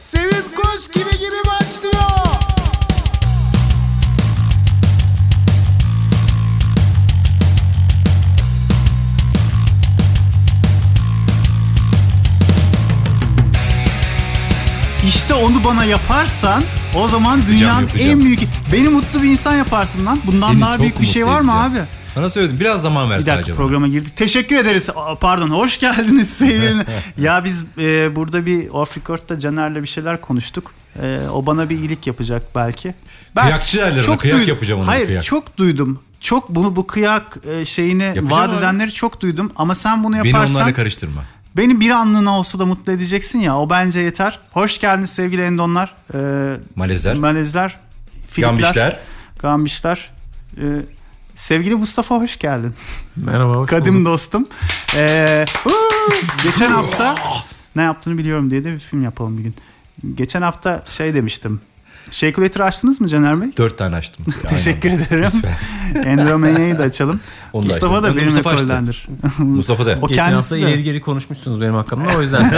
Sevim Kuş gibi gibi başlıyor. İşte onu bana yaparsan o zaman dünyanın yapacağım. en büyük... Beni mutlu bir insan yaparsın lan. Bundan Seni daha çok büyük bir şey mutlu var mı abi? edeceğim. Sana söyledim biraz zaman Bir versen dakika acaba. programa girdik. Teşekkür ederiz. Aa, Pardon hoş geldiniz sevgili. ya biz e, burada bir off record'da Caner'le bir şeyler konuştuk. E, o bana bir iyilik yapacak belki. Ben Kıyakçı derler ona, kıyak yapacağım ona, Hayır kıyak. çok duydum. Çok bunu bu kıyak e, şeyini Yapacağım vaat abi. edenleri çok duydum. Ama sen bunu Beni yaparsan onlarla beni, karıştırma. bir anlığına olsa da mutlu edeceksin ya. O bence yeter. Hoş geldiniz sevgili Endonlar. E, Malezler. Malezler. Filipler. Gambişler. Gambişler. E, sevgili Mustafa hoş geldin. Merhaba hoş Kadim dostum. Ee, huu, geçen hafta ne yaptığını biliyorum diye de bir film yapalım bir gün. Geçen hafta şey demiştim. Shakulator açtınız mı Caner Bey? Dört tane açtım. Teşekkür Aynen. ederim. Lütfen. Endromanya'yı da açalım. Onu da Mustafa açalım. da Onu benim Mustafa açtı. ekoldendir. Mustafa da. O Geçen kendisi hafta de. ileri geri konuşmuşsunuz benim hakkımda o yüzden.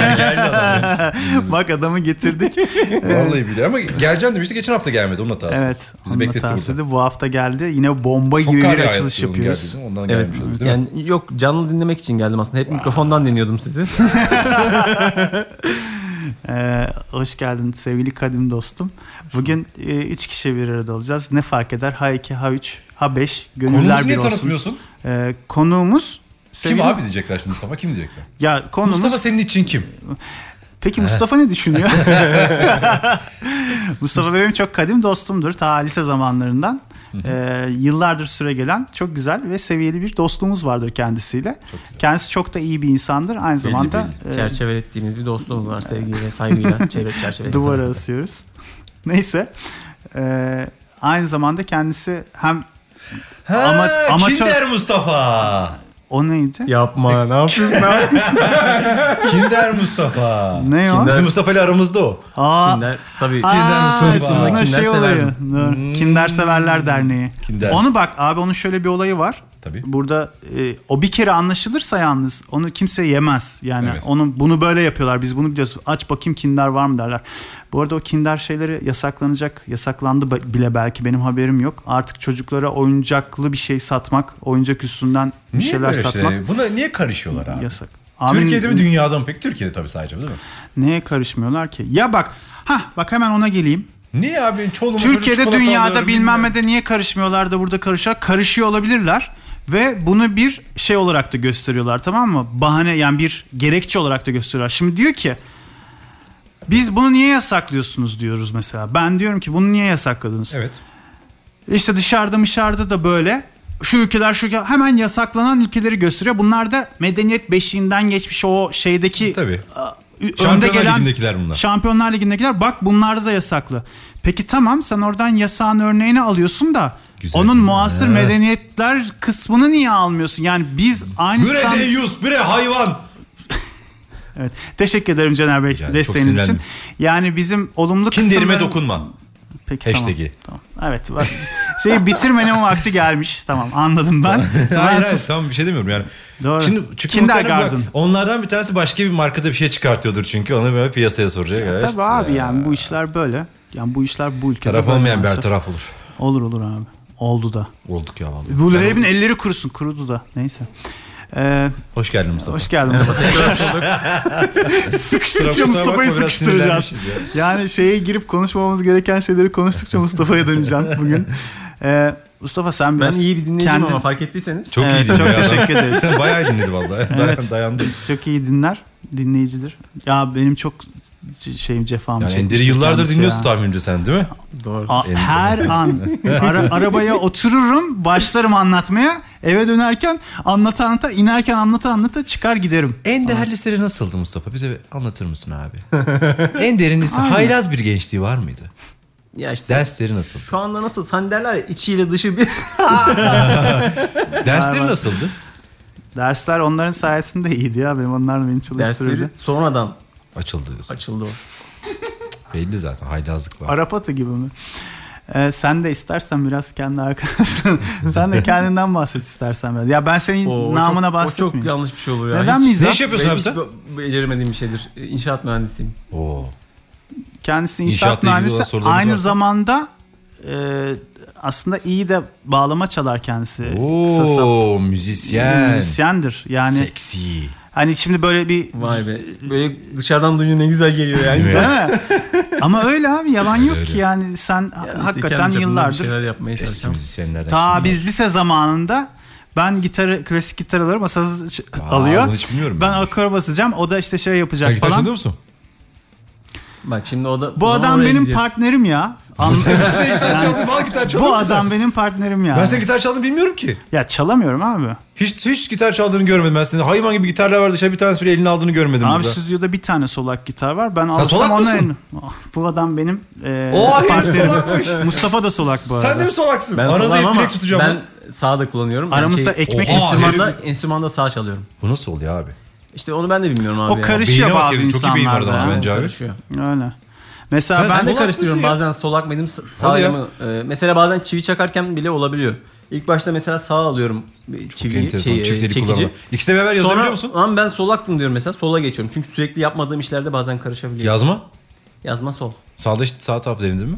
Bak adamı getirdik. Vallahi biliyor ama geleceğim demişti geçen hafta gelmedi onun hatası. evet. Bizi onun bekletti hatasıydı. burada. Bu hafta geldi. Yine bomba Çok gibi kar bir yağıyor açılış yolun yapıyoruz. geldiği için, Ondan evet. gelmiş olabilir değil mi? Yani yok canlı dinlemek için geldim aslında. Hep mikrofondan dinliyordum sizi. Ee, hoş geldin sevgili kadim dostum. Bugün 3 kişi bir arada olacağız. Ne fark eder? H2, H3, H5. Gönüller Konumuzu bir niye olsun. tanıtmıyorsun? Ee, konuğumuz Kim sevgili- abi diyecekler şimdi Mustafa kim diyecekler? Ya konuğumuz Mustafa senin için kim? Peki Mustafa ne düşünüyor? Mustafa benim çok kadim dostumdur. Ta lise zamanlarından. Ee, yıllardır süre gelen çok güzel ve seviyeli bir dostluğumuz vardır kendisiyle. Kendisi çok da iyi bir insandır. Aynı zamanda e, Çerçevelettiğimiz bir dostluğumuz var sevgiyle, saygıyla. Çevre çerçeve. duvara asıyoruz. Neyse. Ee, aynı zamanda kendisi hem Ha, Ama- amatör- Kinder Mustafa. o neydi? Yapma ne yapıyorsun abi? Kinder Mustafa. Ne o? Kinder. Kinder- Bizim Mustafa ile aramızda o. Aa, Kinder, tabii. Aa, Kinder sizin Mustafa. o Kinder şey sever olayı. mi? Doğru. Kinder Severler Derneği. Kinder. Onu bak abi onun şöyle bir olayı var. Tabii. Burada e, o bir kere anlaşılırsa yalnız onu kimse yemez. Yani Evet. onu bunu böyle yapıyorlar. Biz bunu biliyoruz. Aç bakayım Kinder var mı derler. Bu arada o Kinder şeyleri yasaklanacak. Yasaklandı ba- bile belki benim haberim yok. Artık çocuklara oyuncaklı bir şey satmak, oyuncak üstünden bir Niye şeyler böyle şey? satmak şeyler? Buna niye karışıyorlar abi? yasak. Türkiye'de Abi, mi dünyada mı? Peki Türkiye'de tabii sadece değil mi? Neye karışmıyorlar ki? Ya bak. Ha bak hemen ona geleyim. Niye abi? Çoluğuma çocuğuma Türkiye'de çikolata dünyada alıyorum, bilmem ne de niye karışmıyorlar da burada karışar. Karışıyor olabilirler ve bunu bir şey olarak da gösteriyorlar tamam mı? Bahane yani bir gerekçe olarak da gösteriyorlar. Şimdi diyor ki biz bunu niye yasaklıyorsunuz diyoruz mesela. Ben diyorum ki bunu niye yasakladınız? Evet. İşte dışarıda dışarıda da böyle şu ülkeler şu ülkeler hemen yasaklanan ülkeleri gösteriyor. Bunlar da medeniyet beşiğinden geçmiş o şeydeki Tabii. a, ü- önde Şampiyonlar gelen Ligi'ndekiler bunlar. Şampiyonlar Ligi'ndekiler bak bunlar da yasaklı. Peki tamam sen oradan yasağın örneğini alıyorsun da Güzel onun değil mi? muasır He. medeniyetler kısmını niye almıyorsun? Yani biz aynı Bre stand- deyyus, bre hayvan. Evet. Teşekkür ederim Caner Bey Rica ederim, çok desteğiniz için. sinirlendim. Yani bizim olumlu Kinderime kısımları- dokunma. Peki Hashtag'i. tamam. tamam. Evet. Bak, şeyi bitirmenin vakti gelmiş. Tamam anladım ben. ben Hayır, hayır sus- tamam bir şey demiyorum yani. Doğru. Şimdi çıkın Kindergarten. muhtemelen bak, onlardan bir tanesi başka bir markada bir şey çıkartıyordur çünkü onu böyle piyasaya soracak. Ya Tabii işte abi ya. yani bu işler böyle. Yani bu işler bu ülkede. Taraf böyle olmayan bir maalesef. taraf olur. Olur olur abi. Oldu da. Olduk ya vallahi. Bu Leheb'in elleri kurusun. Kurudu da. Neyse. Ee, Hoş geldin Mustafa. hoş geldin Mustafa. Kusura Sıkıştıkça bakma, Mustafa'yı biraz sıkıştıracağız. sinirlenmişiz Yani şeye girip konuşmamamız gereken şeyleri konuştukça Mustafa'ya döneceğim bugün. Ee, Mustafa sen Ben biraz iyi bir dinleyiciyim kendin- ama fark ettiyseniz. Çok Evet, iyi dinledi. çok ya. teşekkür ederiz. Sen bayağı iyi dinledi vallahi. Evet. Dayan, dayandı. Çok iyi dinler. Dinleyicidir. Ya benim çok c- şeyim cefam Yani çekmiştir Ender'i yıllardır kendisi dinliyorsun ya. tahminimce sen değil mi? Doğru. A- Ender. her an Ara- arabaya otururum başlarım anlatmaya eve dönerken anlata anlata inerken anlata anlata çıkar giderim. En değerli seri nasıldı Mustafa? Bize anlatır mısın abi? en derinlisi Aynen. haylaz bir gençliği var mıydı? Ya işte Dersleri nasıl? şu anda nasıl? Sen derler ya, içiyle dışı bir... Dersleri nasıldı? Dersler onların sayesinde iyiydi ya benim onlar beni çalıştırırdı. Dersleri sonradan Açıldı diyorsun. açıldı o. Belli zaten haylazlık var. Arap atı gibi mi? Ee, sen de istersen biraz kendi arkadaşın. sen de kendinden bahset istersen biraz. Ya ben senin O namına çok, o bahsetmeyeyim. çok yanlış bir şey oluyor. ya. Neden Hiç- miyiz Ne ya? iş yapıyorsun Benim abi sen? hiç be- beceremediğim bir şeydir. İnşaat mühendisiyim. Oo. Kendisi inşaat İnşaatla ilgili olan mühendisi. sorularınız Aynı varsa. zamanda e, aslında iyi de bağlama çalar kendisi. Kısa sap- Oo müzisyen. müzisyendir. Yani Seksi. hani şimdi böyle bir Vay be. Böyle dışarıdan duyunca ne güzel geliyor yani. Evet. Değil mi? Ama öyle abi yalan yok Öyle. ki yani sen Yani işte hakikaten kendi çapımda bir yıllardır şeyler yapmaya Eski çalışacağım. müzisyenlerden. Ta şimdi- biz lise zamanında ben gitarı klasik gitar alıyorum o saz ç- Aa, onu alıyor. hiç bilmiyorum Ben ben. akor basacağım o da işte şey yapacak Sen gitar falan. çalıyor musun? Bak şimdi o da Bu o zaman adam oraya benim gideceğiz. partnerim ya. An- sen gitar çaldın. Bana gitar çaldın. Bu adam benim partnerim ya. Ben sen gitar çaldın bilmiyorum ki. Ya çalamıyorum abi. Hiç hiç gitar çaldığını görmedim ben seni. Hayvan gibi gitarlar vardı. Dışarı bir tanesi bile elini aldığını görmedim Abi burada. stüdyoda bir tane solak gitar var. Ben alsam solak ona mısın? en- Ah, Bu adam benim e, Oo, hayır, partnerim. solakmış. Mustafa da solak bu arada. Sen de mi solaksın? Ben Aranızda solağım ip ama direkt tutacağım. ben sağ da kullanıyorum. Ben Aramızda şey- ekmek Oha, enstrümanı. enstrümanda, enstrümanda sağ çalıyorum. Bu nasıl oluyor abi? İşte onu ben de bilmiyorum abi. O ya. karışıyor Beyine bak bazı herif, çok iyi beyin var insanlarda. adamın ha. bence. abi. Karışıyor. Öyle. Mesela Sen- ben Ben de Solak karıştırıyorum mısın ya? bazen solak mıydım s- sağ Hadi ya. mı? Ee, mesela bazen çivi çakarken bile olabiliyor. İlk başta mesela sağ alıyorum bir Çok çiviyi, enteresan. şeyi, Çiftleri çekici. kullanma. İkisi de beraber yazabiliyor Sonra musun? lan ben solaktım diyorum mesela sola geçiyorum. Çünkü sürekli yapmadığım işlerde bazen karışabiliyor. Yazma. Yazma sol. Sağda sağ taraf denedin mi?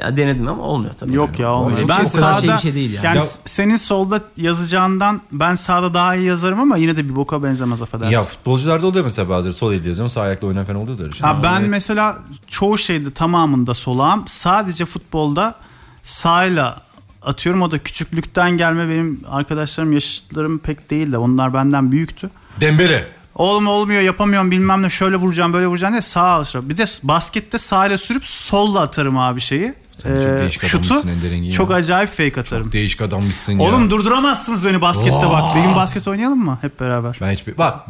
Ya denedim ama olmuyor tabii. Yok ya O olmuyor. çok Ben şey- o kadar sağda şey bir şey değil yani. Yani Ya- s- senin solda yazacağından ben sağda daha iyi yazarım ama yine de bir boka benzemez affedersin. Ya futbolcularda oluyor mesela bazıları sol elle yazıyor ama sağ ayakla oynayan falan oluyor da öyle şey. Ha, ben mesela çoğu şeyde tamamında solağım. Sadece futbolda sağla atıyorum. O da küçüklükten gelme benim arkadaşlarım yaşlarım pek değil de onlar benden büyüktü. Dembele. Oğlum olmuyor yapamıyorum bilmem ne şöyle vuracağım böyle vuracağım diye sağa alışırım. Bir de baskette sağla sürüp solla atarım abi şeyi. Ee, Sen çok değişik şutu adammışsın Ender Engin ya. çok acayip fake atarım. Değişik adammışsın ya. Oğlum durduramazsınız beni baskette Oo. bak. Bir gün basket oynayalım mı hep beraber? Ben hiçbir... Bak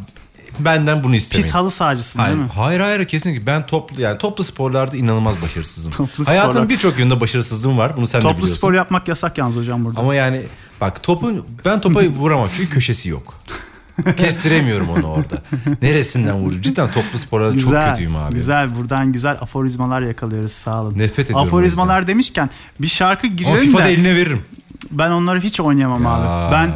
benden bunu istemeyin. Pis halı sahacısın Hayır, değil mi? hayır hayır kesinlikle ben toplu yani toplu sporlarda inanılmaz başarısızım. Toplu sporlar. Hayatımın birçok yönünde başarısızlığım var. Bunu sen de Toplu biliyorsun. spor yapmak yasak yalnız hocam burada. Ama yani bak topun ben topa vuramam çünkü köşesi yok. Kestiremiyorum onu orada. Neresinden vurur? Cidden toplu sporlarda güzel, çok kötüyüm abi. Güzel. Buradan güzel aforizmalar yakalıyoruz. Sağ olun. Nefret ediyorum o Aforizmalar demişken bir şarkı Ama giriyorum FIFA'da da eline veririm. ben onları hiç oynayamam Ya. abi. Ben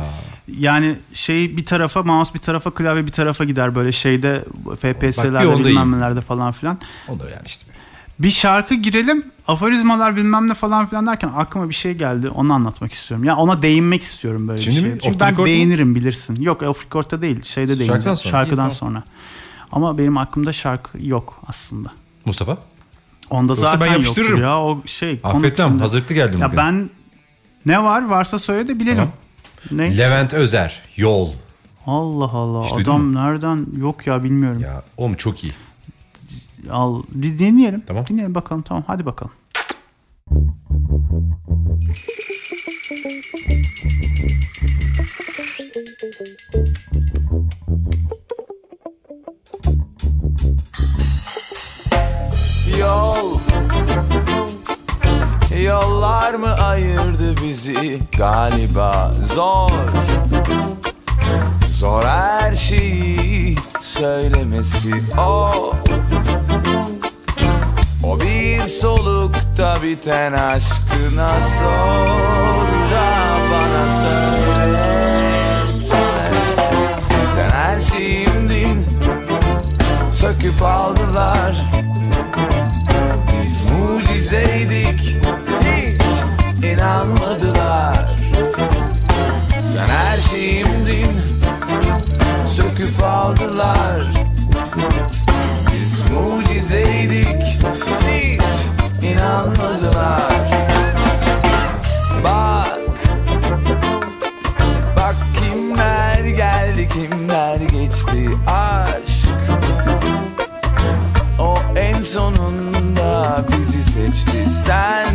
yani şey bir tarafa mouse bir tarafa klavye bir tarafa gider böyle şeyde bir FPS'lerde ondayım. bilmem nelerde falan filan. Olur yani işte. Bir şarkı girelim aforizmalar bilmem ne falan filan derken aklıma bir şey geldi onu anlatmak istiyorum. Ya ona değinmek istiyorum böyle Şimdi bir şey. mi? Çünkü Off the ben record mu? değinirim bilirsin. Yok e, off record'da değil şeyde Şarkıdan değineceğim. Şarkıdan sonra. sonra. İyi, tamam. Ama benim aklımda şarkı yok aslında. Mustafa. Onda Yoksa zaten ben yoktur yapıştırırım. ya o şey. konu Affetmem içinde. hazırlıklı geldim Ya bugün. ben ne var varsa söyle de bilelim. Tamam. Ne? Levent Özer. Yol. Allah Allah Hiç duydun adam nereden yok ya bilmiyorum. Ya oğlum çok iyi. Al bir dinleyelim. Tamam. Dinleyelim bakalım tamam hadi bakalım. Yol Yollar mı ayırdı bizi galiba zor Zor her şeyi söylemesi o O bir solukta biten aşkına sor da bana söyle Sen her şeyimdin Söküp aldılar biz mucizeydik Hiç inanmadılar Sen her şeyimdin Söküp aldılar Biz mucizeydik Hiç inanmadılar Bak Bak kimler geldi kimler geçti aşk o en sonunda bizi seçti sen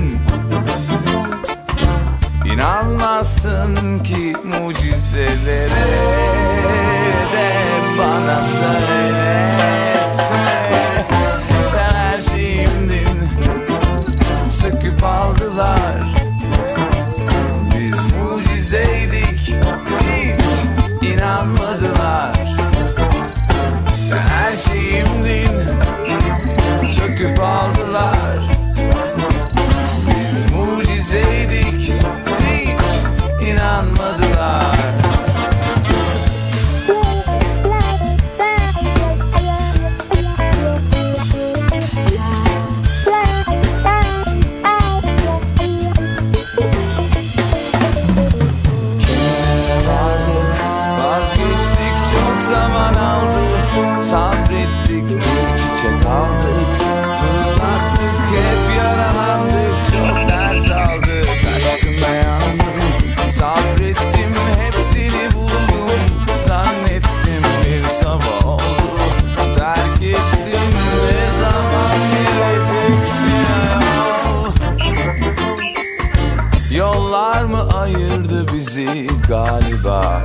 İnanmazsın ki mucizelere de bana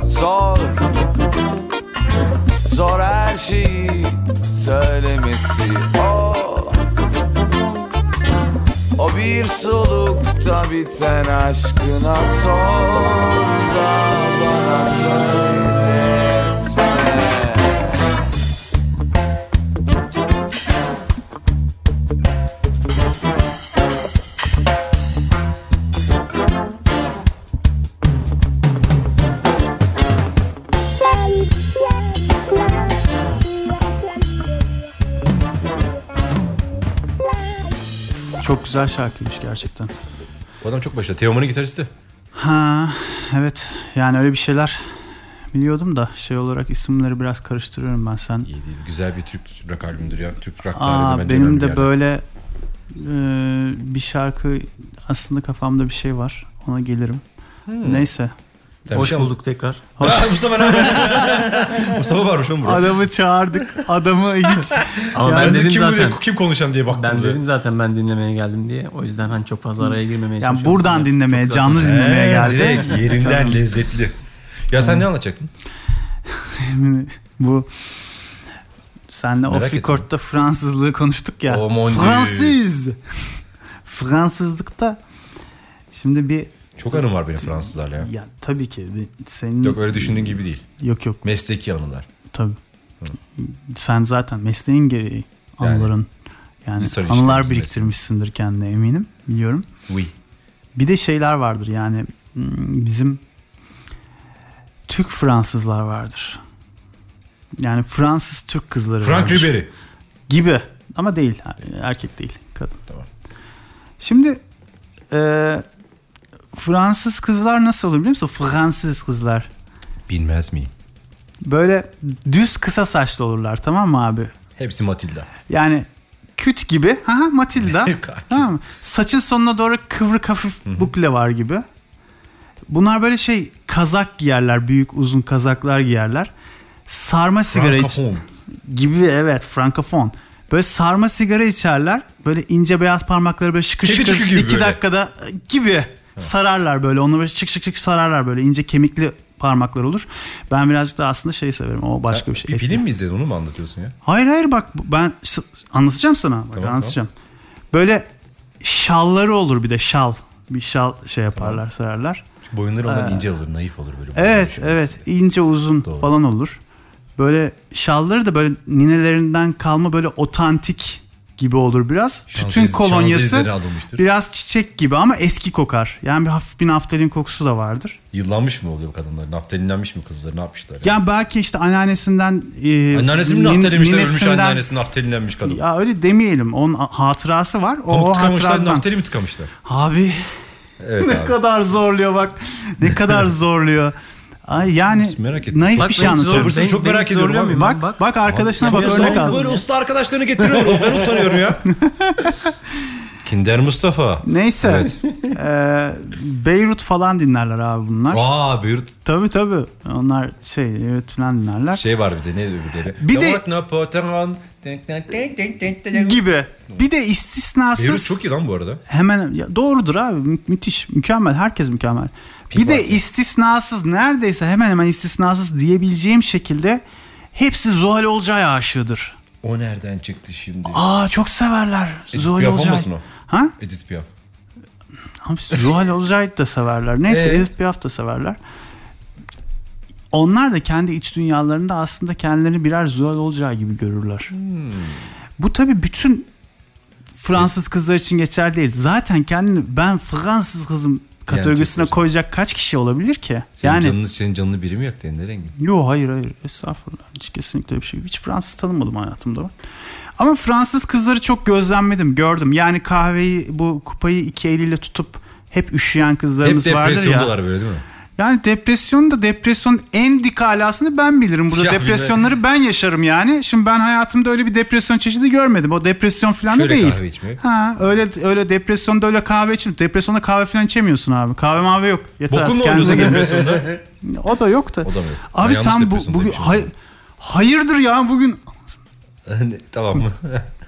Zor Zor her şeyi söylemesi O O bir solukta biten aşkına son da bana söyletme Çok güzel şarkıymış gerçekten. Bu adam çok başta. Teoman'ın gitaristi. Ha evet yani öyle bir şeyler biliyordum da şey olarak isimleri biraz karıştırıyorum ben sen. İyi değil. Güzel bir Türk rock albümüdür ya. Türk rock tarihinde Aa, bence benim önemli de yani. böyle e, bir şarkı aslında kafamda bir şey var ona gelirim. Neyse Tabii Şey Hoş canım. bulduk tekrar. Ha, Mustafa ne haber? Mustafa varmış oğlum burada. adamı çağırdık adamı hiç Ama Yani ben dedim kim bu diye- zaten. kim konuşan diye baktım. Ben buraya. dedim zaten ben dinlemeye geldim diye. O yüzden hani çok fazla araya girmemeye yani çalışıyorum. buradan Çok dinlemeye zaten- canlı dinlemeye Ee, geldi. direkt yerinden lezzetli. Ya sen ne anlatacaktın? Bu senle Merak off ettim. record'da Fransızlığı konuştuk ya. Oh mon Dieu. Fransız. Fransızlıkta şimdi bir Çok anım var benim Fransızlarla ya. ya tabii ki bir- senin Yok öyle düşündüğün gibi değil. yok yok Mesleki anılar. tabii. Sen zaten mesleğin gereği Yani, anıların yani insan anılar ilişkilerimiz biriktirmişsindir kendine eminim biliyorum. Oui. Bir de şeyler vardır yani hmm, bizim Türk Fransızlar vardır. Yani Fransız Türk kızları Frank vardır. Ribery. Gibi ama değil erkek değil kadın. Tamam. Şimdi e, Fransız kızlar nasıl olur biliyor musun? Fransız kızlar Bilmez miyim? böyle düz kısa saçlı olurlar tamam mı abi? Hepsi Matilda. Yani küt gibi. Ha ha, Matilda. Kaki. tamam mı? Saçın sonuna doğru kıvrık hafif bukle var gibi. Bunlar böyle şey kazak giyerler. Büyük uzun kazaklar giyerler. Sarma sigara Frank iç Capone. gibi evet frankofon. Böyle sarma sigara içerler. Böyle ince beyaz parmakları böyle şıkır Kedi şıkır tükü gibi iki böyle. dakikada e, gibi sararlar böyle. Onu böyle şık şık şık sararlar böyle. ince kemikli parmaklar olur. Ben birazcık da aslında şey severim. O başka Sen bir şey. Bir Etli. film mi izledin onu mu anlatıyorsun ya? Hayır hayır bak bu- ben s- anlatacağım sana. Bak, Tamam, anlatacağım. Böyle şalları olur bir de şal. Bir şal şey yaparlar sararlar. Boyunları ondan ince olur, naif olur böyle. Evet Boyunları evet şöyle. ince uzun Doğru. falan olur. Böyle şalları da böyle ninelerinden kalma böyle otantik gibi olur biraz. Tütün Şanzelize- Şanzelize'leri kolonyası alınmıştır. biraz çiçek gibi ama eski kokar. Yani bir hafif bir naftalin kokusu da vardır. Yıllanmış mı oluyor bu kadınlar? Naftalinlenmiş mi kızlar? Ne yapmışlar? Ya? Yani belki işte anneannesinden e, Anneannesi mi nin- naftalinmiş? Ölmüş ninesinden- anneannesi naftalinlenmiş kadın. Ya öyle demeyelim. Onun hatırası var. O, Pamuk o tıkamışlar, hatıradan. naftali mi tıkamışlar? Abi Evet ne abi. kadar zorluyor bak. Ne kadar zorluyor. Ay yani Hiç merak ettim. naif Bak bir şey ben hiç anlatıyorum. zorluyorum. Çok Ben- merak ben ediyorum zorluyor abi. muyum? Bak, bak, arkadaşına bak örnek al. Böyle usta arkadaşlarını getiriyorum. Ben utanıyorum ya. Kinder Mustafa. Neyse. Evet. Ee, Beyrut falan dinlerler abi bunlar. Aa Beyrut Tabii tabii. Onlar şey evet falan dinlerler. şey var bir de ne öbürleri. Bir Ya de- bak, ne potan. Gibi. Bir de istisnasız. Beyrut çok iyi lan bu arada. Hemen ya doğrudur abi mü- müthiş mükemmel herkes mükemmel. bir de Martin. istisnasız neredeyse hemen hemen istisnasız diyebileceğim şekilde hepsi Zuhal Olcay'a aşığıdır. O nereden çıktı şimdi? Aa çok severler Edith Zuhal Piaf Olcay. olmasın E, o? Ha? Edith Piaf. Abi Zuhal Olcay da severler. Neyse Ee? Edith Piaf da severler. Onlar da kendi iç dünyalarında aslında kendilerini birer Zuhal Olcay gibi görürler. Bu tabii bütün Fransız kızlar için geçer değil. Zaten kendini ben Fransız kızım kategorisine Türk kızı. koyacak kaç kişi olabilir ki? Senin yani canını, senin canını biri mi yaktı Ender Engin? Yo hayır hayır estağfurullah hiç kesinlikle öyle bir şey. Hiç Fransız tanımadım hayatımda ben. Ama Fransız kızları çok gözlemledim gördüm. Yani kahveyi bu kupayı iki eliyle tutup hep üşüyen Hep kızlarımız vardır ya. depresyondalar böyle değil mi? Yani depresyon da depresyonun en dik alasını ben bilirim. Burada Ya bir de- depresyonları ben yaşarım yani. Şimdi ben hayatımda öyle bir depresyon çeşidi görmedim. O depresyon falan da Şöyle değil. kahve içmek. Ha öyle öyle depresyonda öyle kahve için depresyonda kahve falan içemiyorsun abi. Kahve mavi yok. Yeter Bokun artık, mu kendinize oluyorsun gelin. depresyonda? O da yok da. O da mı yok? Abi Ben yanlış sen bu depresyondayım bugün şimdi. hay- hayırdır ya bugün Ne, tamam mı?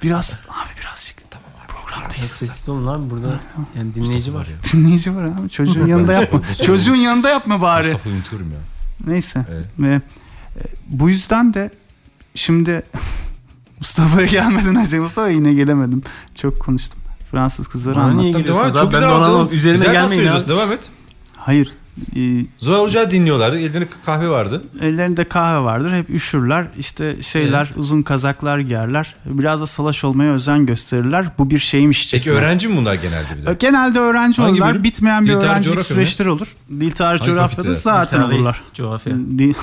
biraz abi birazcık tamam abi programdayız. Sessiz olun lan burada. Yani dinleyici var. Dinleyici var abi çocuğun yanında yapma. Mustafa- çocuğun yanında yapma bari. Mustafa unutuyorum ya. Neyse. Evet. Ve e, bu yüzden de şimdi Mustafa'ya gelmeden önce Mustafa'ya yine gelemedim. Çok konuştum. Fransız kızları Bana anlattım. niye Devam et. geliyorsunuz Çok abi? Ben de güzel anlamadım. anlatalım. Üzerime güzel tasvir gelmeyin abi. ediyorsun. Devam et. Hayır. e, Zoya Hoca dinliyorlardı. Ellerinde kahve vardı. ellerinde kahve vardır. Hep üşürler. İşte şeyler uzun kazaklar giyerler. Biraz da salaş olmaya özen gösterirler. Bu bir şeymişçesine. Peki öğrenci mi bunlar genelde bir de? Genelde öğrenci Hangi olurlar. bölüm? Bitmeyen bir Dil tarih öğrencilik coğrafya mı? süreçleri olur. Dil tarih Hangi coğrafyada fakülte? zaten Tarih, olurlar. Coğrafya. Dil,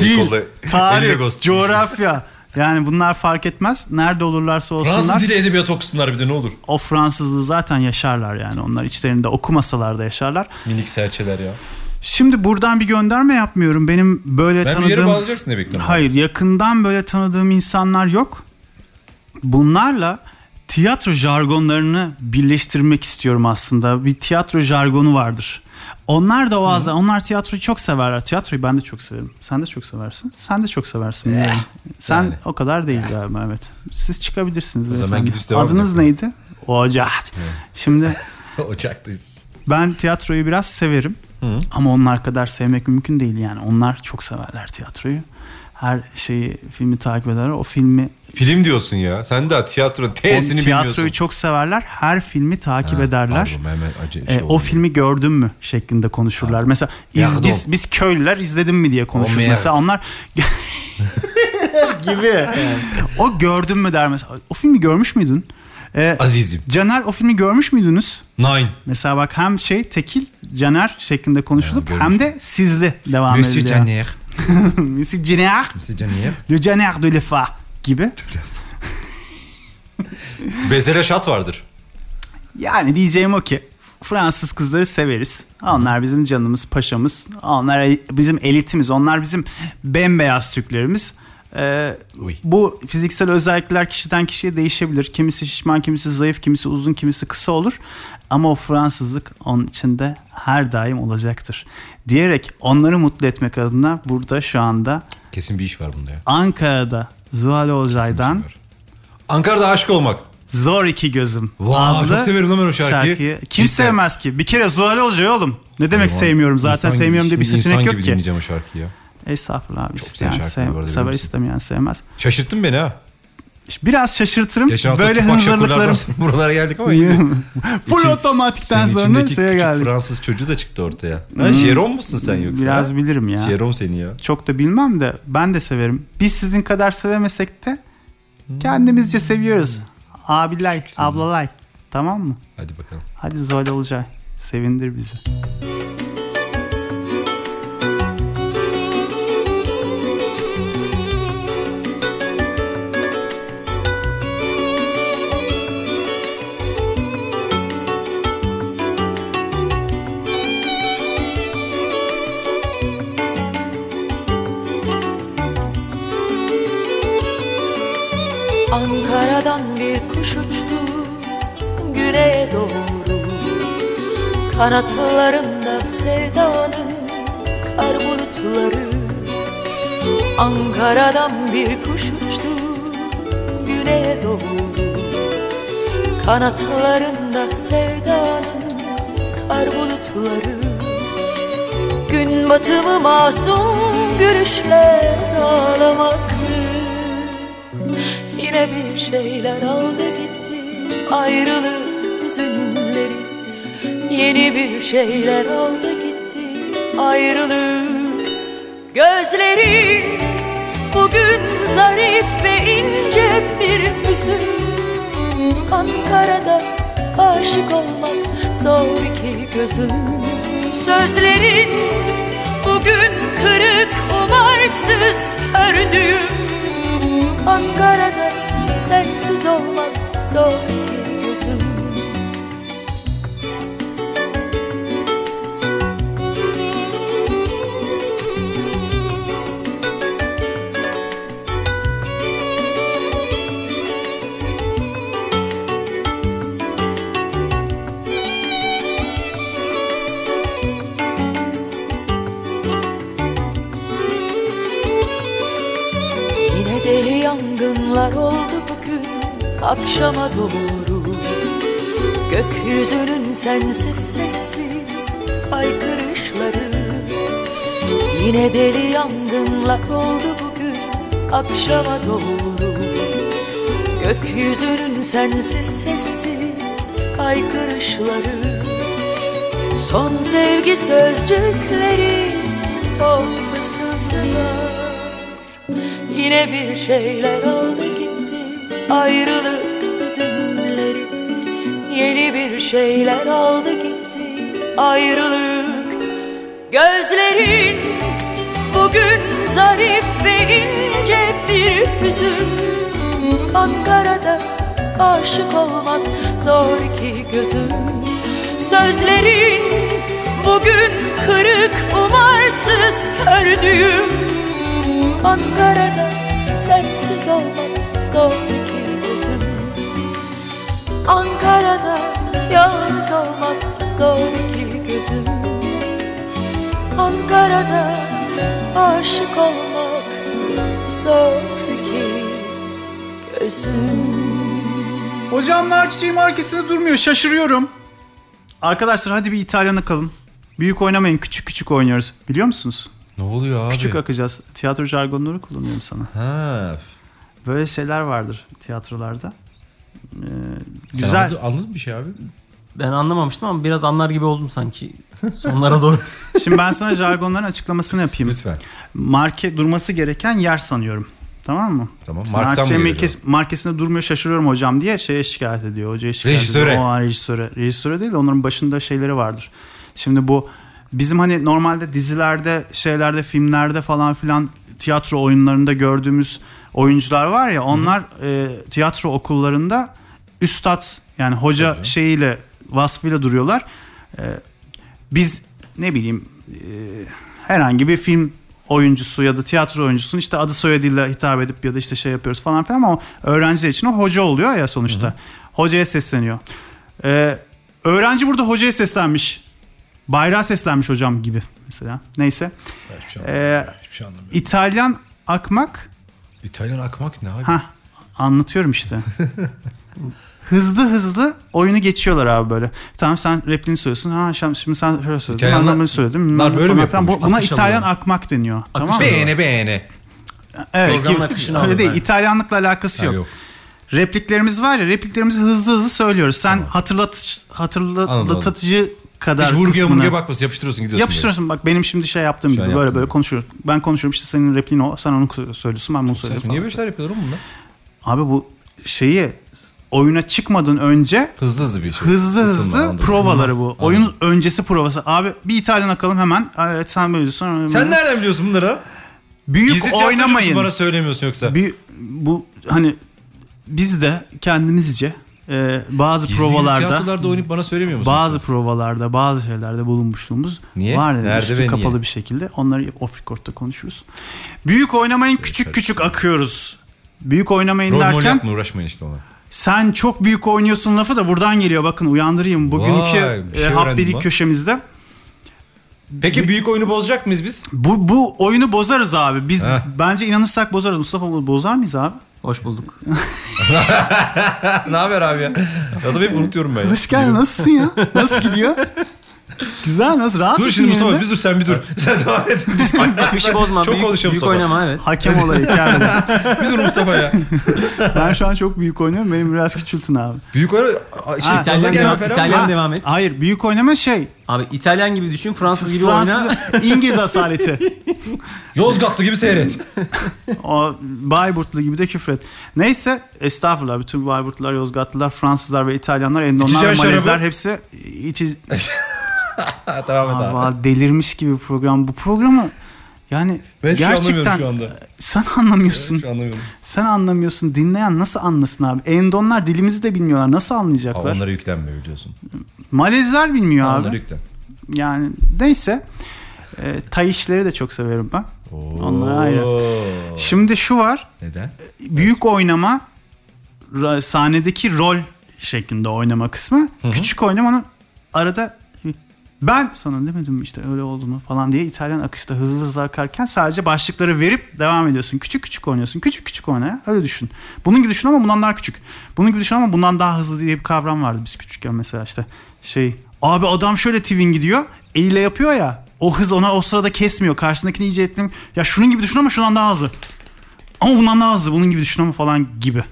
Dil, tarih, coğrafya. Yani bunlar fark etmez. Nerede olurlarsa olsunlar. Fransız dili edebiyatı okusunlar bir de ne olur. O Fransızlığı zaten yaşarlar yani. Onlar içlerinde okumasalar da yaşarlar. Minik serçeler ya. Şimdi buradan bir gönderme yapmıyorum. Benim böyle Ben bir yere tanıdığım... bağlayacaksın diye bekliyorum. Hayır yakından böyle tanıdığım insanlar yok. Bunlarla tiyatro jargonlarını birleştirmek istiyorum aslında. Bir tiyatro jargonu vardır. Onlar da o azda, onlar tiyatroyu çok severler. Tiyatroyu ben de çok severim. Sen de çok seversin. Sen de çok seversin. biliyorum. Sen Eh, yani. Eh. o kadar değil galiba evet. Siz çıkabilirsiniz. zaman beyefendi. gidip devam Adınız edelim. neydi? Ocak. Şimdi Ocaktayız. ben tiyatroyu biraz severim. Hı. Ama onlar kadar sevmek mümkün değil yani. Onlar çok severler tiyatroyu. Her şeyi, filmi takip ederler. O filmi, Film diyorsun ya. Sen daha tiyatro o T'sini bilmiyorsun. tiyatroyu çok severler. Her filmi takip Ha, ederler. pardon, hemen acı- E, şey o oldu. filmi gördün mü şeklinde konuşurlar. Mesela iz- Yardım. biz, biz köylüler izledin mi diye konuşuruz. Olmayız. Mesela onlar gibi. o gördün mü der mesela. O filmi görmüş müydün? E, Azizim. Caner o filmi görmüş müydünüz? Nine. Mesela bak hem şey tekil Caner şeklinde konuşulup görmüş. hem de sizli devam ediliyor. Monsieur Caner. Monsieur Caner. Monsieur Caner. Le Caner de Lefa gibi. Bezele şat vardır. Yani diyeceğim o ki Fransız kızları severiz. Onlar bizim canımız, paşamız. Onlar el- bizim elitimiz. Onlar bizim bembeyaz Türklerimiz. Ee, Uy. bu fiziksel özellikler kişiden kişiye değişebilir. Kimisi şişman, kimisi zayıf, kimisi uzun, kimisi kısa olur. Ama o Fransızlık onun içinde her daim olacaktır. Diyerek onları mutlu etmek adına burada şu anda Kesin bir iş var bunda ya. şey Ankara'da Zuhal Olcay'dan Var. Ankara'da aşk olmak. Zor iki gözüm. Vay, çok severim lan ben o şarkıyı. Kim Cidden. sevmez ki? Bir kere Zuhal Olcay oğlum. Ne demek Hayvan. sevmiyorum zaten İnsan gibi, sevmiyorum diye bir şimdi seçenek insan yok gibi ki. dinleyeceğim o şarkıyı ya. Estağfurullah abi. Çok isteyen güzel şarkı sev- bu arada, biliyor sever musun? istemeyen sevmez. Şaşırttın beni ha. Biraz şaşırtırım. Geçen hafta Böyle Böyle Tupac Shakur'lardan hınzırlıklarım. sonra buralara geldik ama iyi. Full İçin- otomatikten Senin sonra içindeki şeye küçük geldik. Hmm. Fransız çocuğu da çıktı ortaya. Lan Jerome musun sen yoksa? Biraz ha? bilirim ya. Jerome seni ya. Çok da bilmem de ben de severim. Biz sizin kadar sevemesek de Hmm. kendimizce seviyoruz. Abiler, ablalar. Tamam mı? Hadi bakalım. Hadi Zuhal Olcay. Sevindir bizi. Ankara'dan bir kuş uçtu güneye doğru Kanatlarında sevdanın kar bulutları Ankara'dan bir kuş uçtu güneye doğru Kanatlarında sevdanın kar bulutları Gün batımı masum gülüşler ağlamaktı Yine bir şeyler aldı gitti ayrılık hüzünleri Yeni bir şeyler aldı gitti ayrılık gözleri Bugün zarif ve ince bir hüzün Ankara'da aşık olmak zor ki gözüm Sözlerin bugün kırık umarsız kördüğüm Ankara'da sensiz olmak zor ki gözüm Yine deli yangınlar oldu bugün akşama doğru Gökyüzünün sensiz sessiz haykırışları Yine deli yangınlar oldu bugün akşama doğru Gökyüzünün sensiz sessiz kaykırışları Son sevgi sözcükleri son fısıldılar Yine bir şeyler oldu gitti ayrılık hüzünleri Yeni bir şeyler oldu gitti ayrılık Gözlerin bugün zarif ve ince bir hüzün Ankara'da aşık olmak zor ki gözüm Sözlerin bugün kırık umarsız kördüğüm Ankara'da sensiz olmak zor ki gözüm Ankara'da yalnız olmak zor ki gözüm Ankara'da aşık olmak zor ki gözüm. Hocam nar çiçeğim arkasında durmuyor şaşırıyorum. Arkadaşlar hadi bir İtalyan'a kalın. Büyük oynamayın küçük küçük oynuyoruz. Biliyor musunuz? Ne oluyor abi? Küçük akacağız. Tiyatro jargonları kullanıyorum sana. ha. Böyle şeyler vardır tiyatrolarda. Ee, Sen güzel. anladın, anladın mı bir şey abi? Ben anlamamıştım ama biraz anlar gibi oldum sanki. Sonlara doğru. Şimdi ben sana jargonların açıklamasını yapayım. Lütfen. Marke durması gereken yer sanıyorum. Tamam mı? Tamam. Sen Mark'tan mı Arçelik'in geliyor? kes- markesinde durmuyor şaşırıyorum hocam diye şeye şikayet ediyor. Hocaya şikayet Rejisöre. ediyor. O an rejisöre. Rejisöre değil de onların başında şeyleri vardır. Şimdi bu bizim hani normalde dizilerde şeylerde filmlerde falan filan tiyatro oyunlarında gördüğümüz oyuncular var ya onlar e, tiyatro okullarında üstad yani hoca şeyiyle vasfıyla duruyorlar. E, biz ne bileyim herhangi bir film oyuncusu ya da tiyatro oyuncusunun işte adı soyadıyla hitap edip ya da işte şey yapıyoruz falan filan ama öğrenciler için o hoca oluyor ya sonuçta. Hocaya sesleniyor. Ee, öğrenci burada hocaya seslenmiş. Bayrağa seslenmiş hocam gibi mesela. Neyse. Ben Hiçbir şey Ee, anlamıyorum. Hiçbir şey anlamıyorum. İtalyan akmak. İtalyan akmak ne abi? Ha anlatıyorum işte. hızlı hızlı oyunu geçiyorlar abi böyle. Tamam sen repliğini söylüyorsun. Ha şam- şimdi sen şöyle söyledin. Ben İtalyanlar- de bunu söyledim. Bunlar böyle mi Falan filan. Bu- yapıyormuş? Buna Akış İtalyan alıyor. akmak deniyor. tamam mı? Beğene beğene. Evet. Programın gibi. akışını Öyle aldı değil. bence. İtalyanlıkla alakası Ha, yok. yok. Repliklerimiz var ya repliklerimizi hızlı hızlı söylüyoruz. Sen hatırlat hatırlatıcı kadar Hiç vurguya kısmını- vurguya bakmasın yapıştırıyorsun gidiyorsun. Yapıştırıyorsun bak benim şimdi şey yaptığım Şu an gibi böyle yaptığım böyle gibi. konuşuyoruz. Ben konuşuyorum işte senin repliğin o sen onu söylüyorsun ben bunu böyle. Sen söylüyorum. niye falan. böyle şeyler yapıyorlar oğlum bunlar? Abi bu şeyi oyuna çıkmadan önce Hızlı hızlı bir şey. hızlı Isınma, hızlı anladım. provaları bu. Anladım. Oyun öncesi provası. Abi bir İtalyan akalım hemen. Evet, sen böyle diyorsun. Sen nereden biliyorsun bunları? Büyük Gizli tiyatrocu musun oynamayın. bana söylemiyorsun yoksa? Bir, bu hani biz de kendimizce e, bazı Gizli provalarda tiyatrolarda oynayıp bana söylemiyor musun? bazı yoksa? provalarda bazı şeylerde bulunmuşluğumuz Niye? var. Nerede Nerede ve üstü niye? kapalı bir şekilde. Onları off record'da konuşuruz. Büyük oynamayın küçük küçük akıyoruz. Büyük oynamayın Rol mol derken yapma uğraşmayın işte ona. sen çok büyük oynuyorsun lafı da buradan geliyor. Bakın uyandırayım. Bugünkü Vay, bir e, şey öğrendim hapbelik lan. köşemizde. Peki büyük oyunu bozacak mıyız biz? Bu, bu oyunu bozarız abi. Biz Heh. bence inanırsak bozarız. Mustafa bu- bozar mıyız abi? Hoş bulduk. ne haber abi ya? Adamı hep unutuyorum ben. ya. Hoş geldin. Nasılsın ya? Nasıl gidiyor? Güzel nasıl? Rahat Dur mısın şimdi Mustafa yerinde? bir dur sen bir dur. sen devam et. Akışı şey bozma. Çok büyük, konuşuyor büyük Mustafa. oynama evet. Hakem olayı geldi. bir dur Mustafa ya. ben şu an çok büyük oynuyorum. Benim biraz küçültün abi. Büyük oyunu şey, Ha, gaza İtalyan gelme devam, falan. İtalyan Ha, devam et. Hayır büyük oynama şey. Abi İtalyan gibi düşün, Fransız gibi Fransız, oyna. İngiliz asaleti. Yozgatlı gibi seyret. O Bayburtlu gibi de küfret. Neyse estağfurullah bütün Bayburtlular, Yozgatlılar, Fransızlar ve İtalyanlar, Endonlar İçeceğin ve Malezler şarabı. hepsi içi... Ha, tamam et abi. Aa, delirmiş gibi bir program. Bu programı yani Ben hiçbir şey gerçekten anlamıyorum şu anda. sen anlamıyorsun. Hiçbir şey anlamıyorum. Sen anlamıyorsun. Dinleyen nasıl anlasın abi? Endonlar dilimizi de bilmiyorlar. Nasıl Ha, anlayacaklar? onlara yüklenme biliyorsun. Malezler bilmiyor Onlara abi. yüklen. Yani neyse. E, tay işleri de çok severim ben. Onlara ayrı. Oo. Şimdi şu var. Neden? Büyük oynama ra- sahnedeki rol şeklinde oynama kısmı. Küçük oynamanın arada ben sana demedim mi işte öyle oldu mu falan diye İtalyan akışta hızlı hızlı akarken sadece başlıkları verip devam ediyorsun. Küçük küçük oynuyorsun. Küçük küçük oyna ya. Öyle düşün. Bunun gibi düşün ama bundan daha küçük. Bunun gibi düşün ama bundan daha hızlı diye bir kavram vardı biz küçükken mesela işte şey abi adam şöyle twin gidiyor eliyle yapıyor ya o hız ona o sırada kesmiyor. Karşısındakini iyice ettim. Ya şunun gibi düşün ama şundan daha hızlı. Ama bundan daha hızlı. Bunun gibi düşün ama falan gibi.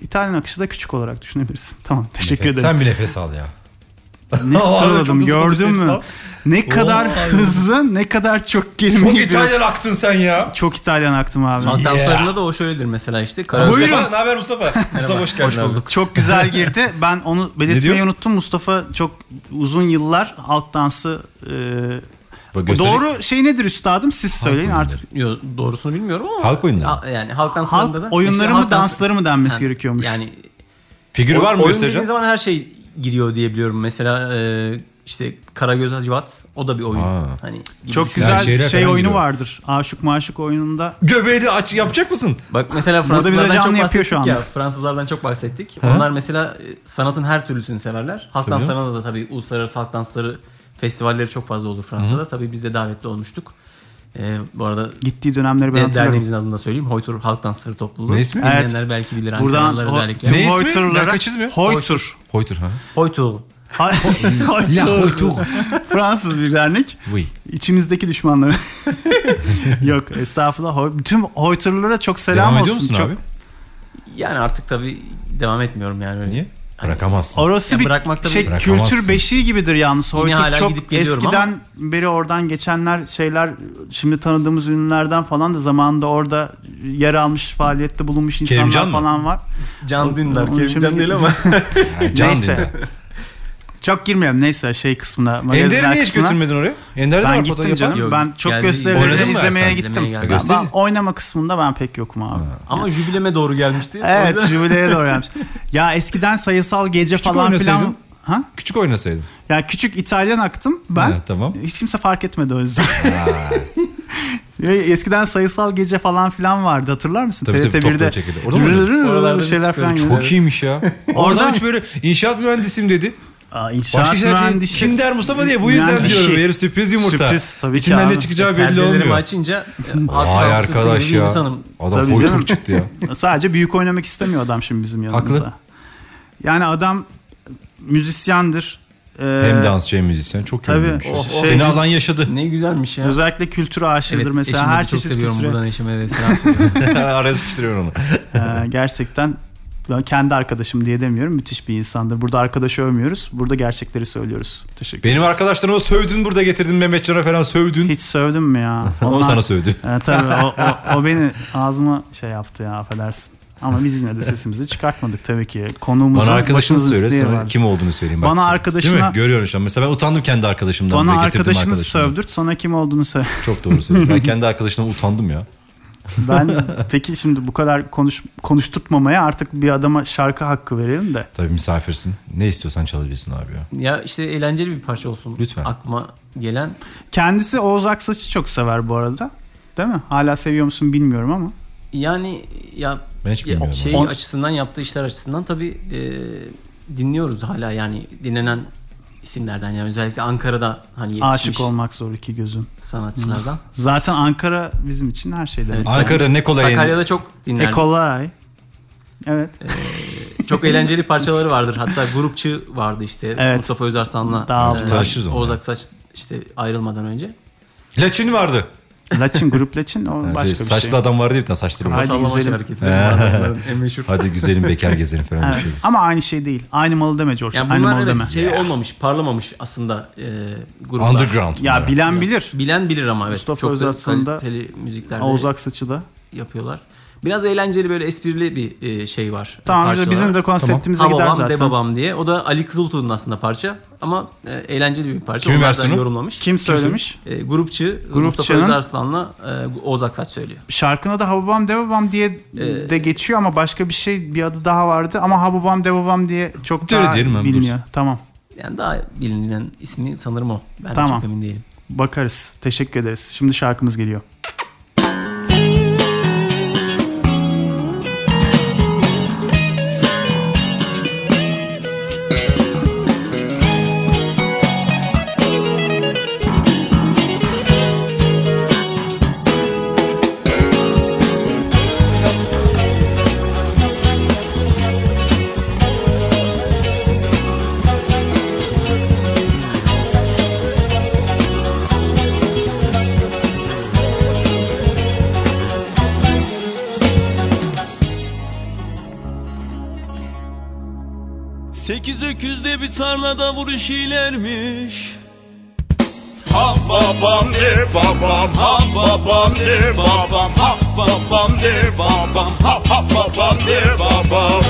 İtalyan akışı da küçük olarak düşünebilirsin. Tamam teşekkür Nefes. ederim. Sen bir nefes al ya. Ne Aa, çok sıraladım hızlı gördün konuşuyor mü? lan. Ne kadar hızlı ne kadar çok kelime Çok gidiyor. İtalyan aktın sen ya. Çok İtalyan aktım abi. Altan Yeah. Sarı'nda da o şöyledir mesela işte. Karar Buyurun. Mustafa, Ne haber Mustafa? Mustafa hoş geldin. abi. Çok güzel girdi. Ben onu Ne belirtmeyi diyor? unuttum. Mustafa çok uzun yıllar halk dansı e, Bak gösterecek- doğru şey nedir üstadım siz söyleyin oyunları. artık. Yo, doğrusunu bilmiyorum ama. Halk oyunları. A- Yani halk danslarında da. Halk oyunları İşte mı halk dansı- dansları mı denmesi Ha, gerekiyormuş. Yani Figürü var mı oyun dediğin göstereceğim? zaman her şey giriyor diye biliyorum. Mesela e, işte Karagöz Hacivat o da bir oyun. Aa. Hani gibi Çok düşün. Yani güzel şehre şey falan oyunu giriyor. vardır. Aşık maşık oyununda Göbeğini aç yapacak mısın? Bak mesela Burada bize Fransızlardan çok canlı yapıyor bahsettik şu ya. anda. Fransızlardan çok bahsettik. Onlar mesela e, sanatın her türlüsünü severler. Halk Tabii. danslarına da tabii uluslararası halk dansları festivalleri çok fazla olur Fransa'da. Tabii biz de davetli olmuştuk. E, bu arada gittiği E, dönemleri ben de, hatırlıyorum. Ee, derneğimizin adını da söyleyeyim. Hoytur Halk Dansları Topluluğu. Ne ismi? Dinleyenler belki bilir Buradan Ankaralılar o- özellikle. tüm Ne ismi? Hoytur'lara- Ben kaçırmıyorum. Hoytur. Hoytur ha. Hoytur. Hoytur. Fransız bir dernek. Oui. İçimizdeki düşmanları. Yok estağfurullah. Hoy- Tüm Hoytur'lara çok selam Devam olsun. ediyor musun Çok- abi? Yani artık tabii devam etmiyorum yani. Öyle. Niye? Bırakamazsın. Orası Ya bir bırakmak da şey bir- kültür Bırakamazsın. beşiği gibidir yalnız. Hoytuk hala çok gidip geliyorum eskiden beri oradan geçenler şeyler şimdi tanıdığımız ünlülerden falan da zamanında orada yer almış faaliyette bulunmuş insanlar Kerimcan mı? falan var. Can Onun Dündar. için Kerimcan bir- değil ama. Yani can Neyse. dinle. Çok girmeyelim neyse şey kısmına. Ender'i magaziner niye hiç kısmına. götürmedin oraya? Ender'i de Ben var gittim fotoğraf canım. yapan. Yok, ben çok geldi- gösterileri Oynadın mı izlemeye Ersan? gittim. İzlemeye geldi. Ben, ben Gösteri- oynama kısmında ben pek yokum abi. Ama jübileme doğru gelmişti. O Evet yüzden- jübileye doğru gelmiş. Ya eskiden sayısal gece Küçük falan filan. oynasaydın. Ha? Küçük oynasaydın. Ya küçük İtalyan aktım ben. Ha, tamam. Hiç kimse fark etmedi o yüzden. Ya Eskiden sayısal gece falan filan vardı hatırlar mısın? Tabii, tabii, TRT1'de. topla çekildi. Orada mı Rırırır Oralarda bir şeyler biz falan çıkıyorduk. geliyor. Çok iyiymiş ya. Orada hiç böyle inşaat mühendisim dedi. Aa, Başka inşaat şeyler mühendisi. için Kinder Mustafa diye bu yüzden Mühendisi. diyorum. Herif sürpriz yumurta. Sürpriz tabii ki İçinden abi. ne çıkacağı belli Perdelerimi olmuyor. açınca e, halk Vay dansçısı arkadaş gibi bir ya. insanım. Adam Tabii canım. boyutur çıktı ya. Sadece büyük oynamak istemiyor adam şimdi bizim yanımızda. Haklı. Yani adam müzisyendir. Ee, Hem dansçı hem müzisyen. Çok Tabii. övülmüş. Oh, oh. Seni alan yaşadı. Ne güzelmiş ya. Özellikle kültüre aşırıdır mesela. eşimi de Her çok çeşit seviyorum kültüre. buradan eşime de selam söylüyorum. Araya sıkıştırıyor onu. Ee, gerçekten ben kendi arkadaşım diye demiyorum. Müthiş bir insandır. Burada arkadaşı övmüyoruz. Burada gerçekleri söylüyoruz. Teşekkür Benim ederiz. arkadaşlarıma sövdün burada getirdin Mehmetcan'a falan sövdün. Hiç sövdüm mü ya? O Onlar- sana sövdü. Ee, tabii o, o, o beni ağzıma şey yaptı ya affedersin. Ama biz yine de sesimizi çıkartmadık tabii ki. Konuğumuzun Bana arkadaşını başımızın söyle üstüne sana var. kim olduğunu söyleyeyim. bak Bana sana. arkadaşına- Değil mi? Görüyorum şu an. Mesela ben utandım kendi arkadaşımdan. Bana ve getirdim arkadaşını arkadaşımdan. sövdürt sana kim olduğunu söyle. Çok doğru söylüyorsun. Ben kendi arkadaşımdan utandım ya. Ben peki şimdi bu kadar konuş konuşturtmamaya artık bir adama şarkı hakkı verelim de. Tabii misafirsin. Ne istiyorsan çalabilirsin abi ya. ya işte eğlenceli bir parça olsun. Lütfen. Aklıma gelen. Kendisi Oğuz Aksaç'ı çok sever bu arada. Değil mi? Hala seviyor musun bilmiyorum ama. Yani ya, Ben hiç ya bilmiyorum. şey On- açısından yaptığı işler açısından tabii e, dinliyoruz hala yani dinlenen isimlerden yani özellikle Ankara'da hani yetişmiş Aşık Hmm. olmak zor iki gözüm. sanatçılardan. Zaten Ankara bizim için her şeyden. Evet, Ankara'da ne kolay- Sakarya'da çok E dinler. kolay. Evet. Çok eğlenceli parçaları vardır. Hatta grupçı vardı işte. Evet. Mustafa Özarsan'la. Daha e, tanışırız onunla. Oğuz Aksaç işte ayrılmadan önce. Laçin vardı. Laçin grup Laçin o Yani başka bir şey, şey. saçlı adam vardı ya bir tane saçları Hadi var. Sallama güzelim. hareketleri. var adamların en meşhur. Hadi güzelim bekar gezelim falan Evet. bir şey. Ama aynı şey değil. Aynı malı deme George. Yani aynı bunlar malı evet deme. şey olmamış, parlamamış aslında e, gruplar. Underground. bunlar. ya bilen Biraz bilir. Bilen bilir ama evet. Mustafa Çok da Özarsan'da kaliteli müziklerle Oğuz Aksaç'ı da. yapıyorlar. Biraz eğlenceli böyle esprili bir e, şey var. e, Tamam parçalar. bizim de konseptimize Ha gider babam zaten. de babam diye. O da Ali Kızıltuğ'un aslında parça. Ama e, eğlenceli bir parça. Kimin Onlardan versiyonu? yorumlamış. Kim söylemiş? E, grupçı Mustafa Grupçının- Özarslan'la e, Oğuz Aksaç söylüyor. Şarkına da Hababam Debabam diye Ee, de geçiyor ama başka bir şey bir adı daha vardı ama Hababam Debabam diye çok Öyle daha diyelim bilmiyor. ben, dursun. Tamam. Yani daha bilinen ismi sanırım o. Ben de Tamam. çok emin değilim. Bakarız. Teşekkür ederiz. Şimdi şarkımız geliyor. Sekiz öküzde bir tarlada vuruş ilermiş Ha babam de babam ha babam de babam ha babam de babam ha ha babam de babam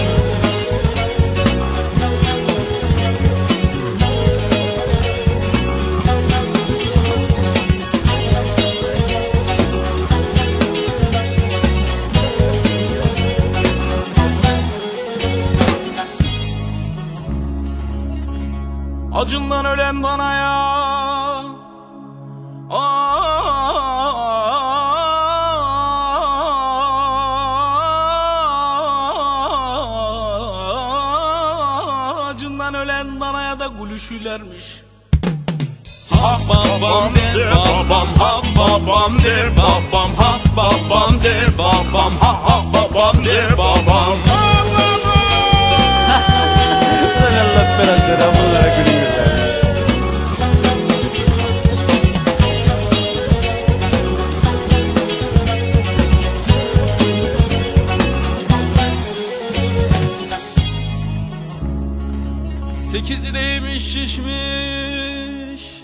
Acından ölen bana ya Aa, Acından ölen bana ya da gülüşülermiş Ha babam der babam ha babam der babam ha babam der babam ha ha babam der babam Allah belanı versin, bunlara gülüyorlar. Sekizi neymiş şişmiş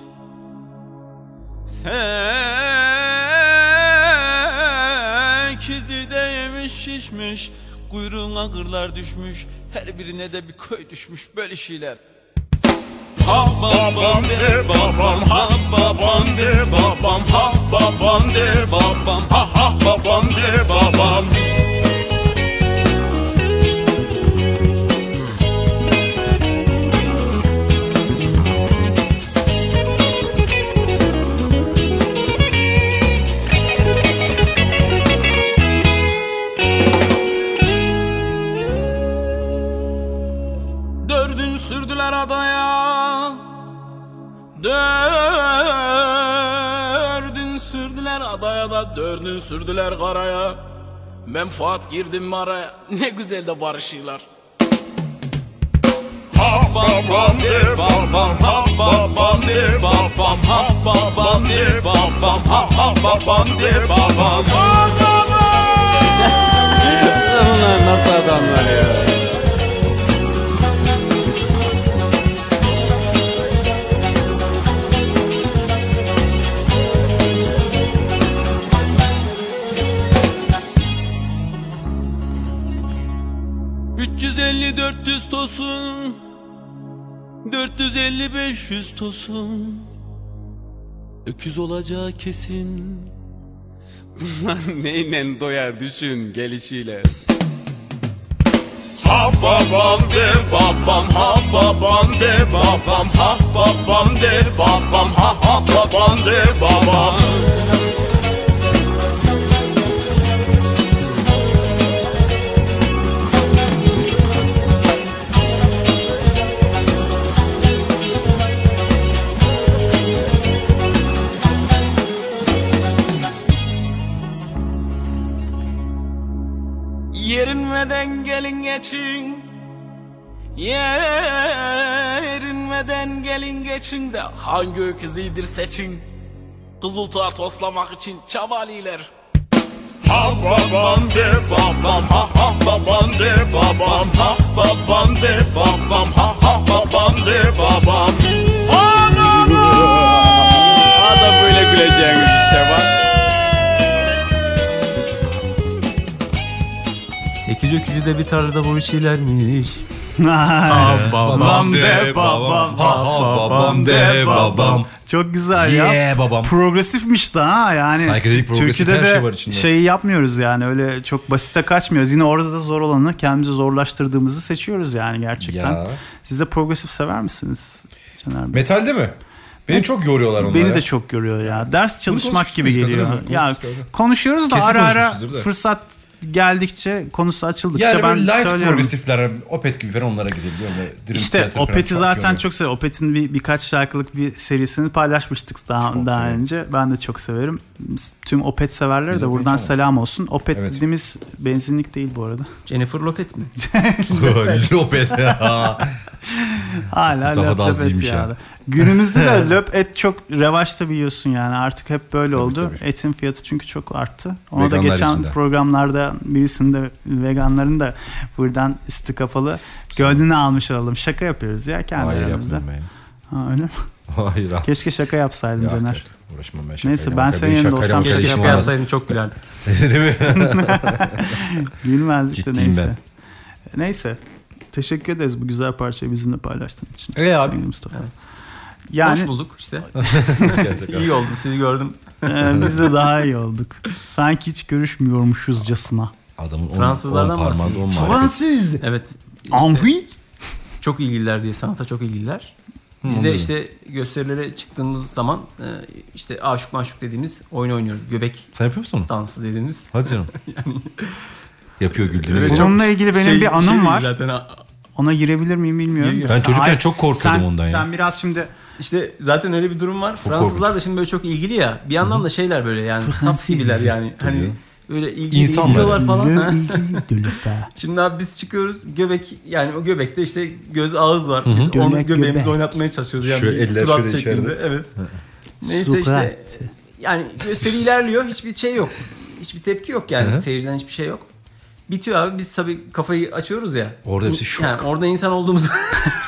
Sekizi neymiş şişmiş Kuyruğuna kırlar düşmüş Her birine de bir köy düşmüş böyle şeyler Ha babam de babam ha babam de babam ha babam de babam ha ha babam de babam Dördün sürdüler adaya Dördün sürdüler adaya da Dördün sürdüler karaya Menfaat girdim maraya Ne güzel de barışırlar Ha babam de babam ha babam de babam ha babam de babam ha ha babam de babam Bunlar nasıl adamlar ya? ...350 400 tosun 450 500 tosun Öküz olacağı kesin Bunlar neyle doyar düşün gelişiyle Ha babam de babam ha babam de babam ha babam de babam ha ha babam de babam Yerinmeden gelin geçin Yerinmeden gelin geçin de Hangi öküzüydür seçin Kızıltuğa toslamak için çabaliler Ha babam de babam ha ha babam de babam ha babam de babam ha ha babam de babam Adam böyle güleceğiniz işte bak. Sekiz öküzü de bir tarlada vuruş ilermiş. Babam de babam ha ha babam de babam. Çok güzel ya. Yeah babam. Progresifmiş da ha yani. Psychedelic progresif Türkiye'de her de şey var içinde. şeyi yapmıyoruz yani öyle çok basite kaçmıyoruz. Yine orada da zor olanı kendimizi zorlaştırdığımızı seçiyoruz yani gerçekten. Ya. Siz de progresif sever misiniz? Caner Bey? Metalde mi? Beni çok yoruyorlar onlar. Beni ya. de çok görüyor ya. Ders çalışmak gibi konuşmuştuk, geliyor. hatırlamıyorum. Ya Konuşmuştuk, evet. konuşuyoruz da Kesin ara ara konuşmuşuzdur da. fırsat geldikçe konusu açıldıkça yani ben böyle light söylüyorum. progresifler, Opet gibi falan onlara gidebiliyor. Böyle Dream İşte Theater falan Opet'i çok zaten yoruyor. çok severim. Opet'in bir, birkaç şarkılık bir serisini paylaşmıştık daha Çok daha severim. önce. Ben de çok severim. Tüm Opet severlere Biz de Opet'i buradan çalmadık. selam olsun. Opet Evet. dediğimiz benzinlik değil bu arada. Jennifer Lopez mi? Lopet. Hala Mustafa da löp az et değilmiş ya. ha. Günümüzde de löp et çok revaçta biliyorsun yani. Artık hep böyle oldu. tabii. Etin fiyatı çünkü çok arttı. Ona da Veganlar geçen yüzünden. programlarda birisinde veganların da buradan üstü kapalı gönlünü almış olalım. Şaka yapıyoruz ya kendi Hayır aramızda. yapmıyorum ben. ya. Ha, öyle mi? Hayır abi. Keşke şaka yapsaydın Yok, Caner. yok. Uğraşmam ben şakayla. Neyse, ben Makara- senin benim yerinde şakayla olsam makara keşke Keşke işim şaka olmaz. yapsaydın çok gülerdik. Değil mi? Gülmezdik de Ciddiyim neyse. Neyse. Teşekkür ederiz bu güzel parçayı bizimle paylaştığın için. E abi. Sevgili Mustafa. Ee, Evet. Yani Hoş bulduk işte. Gerçekten. İyi oldum sizi gördüm. e, biz de daha iyi olduk. Sanki hiç görüşmüyormuşuzcasına. Adamın on, Fransızlardan on parmağında on marifet. bahsediyor. Fransız. Evet. işte Henri. Çok ilgililer diye sanata çok ilgililer. Biz de işte gösterilere çıktığımız zaman e, işte aşık maşuk dediğimiz oyun oynuyoruz. Göbek Sen yapıyor musun? dansı dediğimiz. Hadi canım. Yapıyor güldüğüne göre. Bununla ilgili benim Şey- bir anım şey var. Zaten ha- Ona girebilir miyim bilmiyorum. Gir- Ben Sen- çocukken Hayır, çok korkuyordum sen- ondan ya. Sen biraz şimdi işte zaten öyle bir durum var. Fransızlar da şimdi böyle çok ilgili ya. Bir yandan da şeyler böyle yani sap gibiler yani. Hani böyle ilgili İnsanlar. izliyorlar falan. ha. Dülüfe. Şimdi abi biz çıkıyoruz göbek yani o göbekte işte göz ağız var. Biz onu Göbek, göbeğimizi göbek. oynatmaya çalışıyoruz yani Şöyle bir eller surat şöyle şeklinde. içeride. Evet. Neyse Surat. işte yani gösteri ilerliyor hiçbir şey yok. Hiçbir tepki yok yani seyirciden hiçbir şey yok. Bitiyor abi biz tabii kafayı açıyoruz ya. Orada hepsi şok. Yani orada insan olduğumuz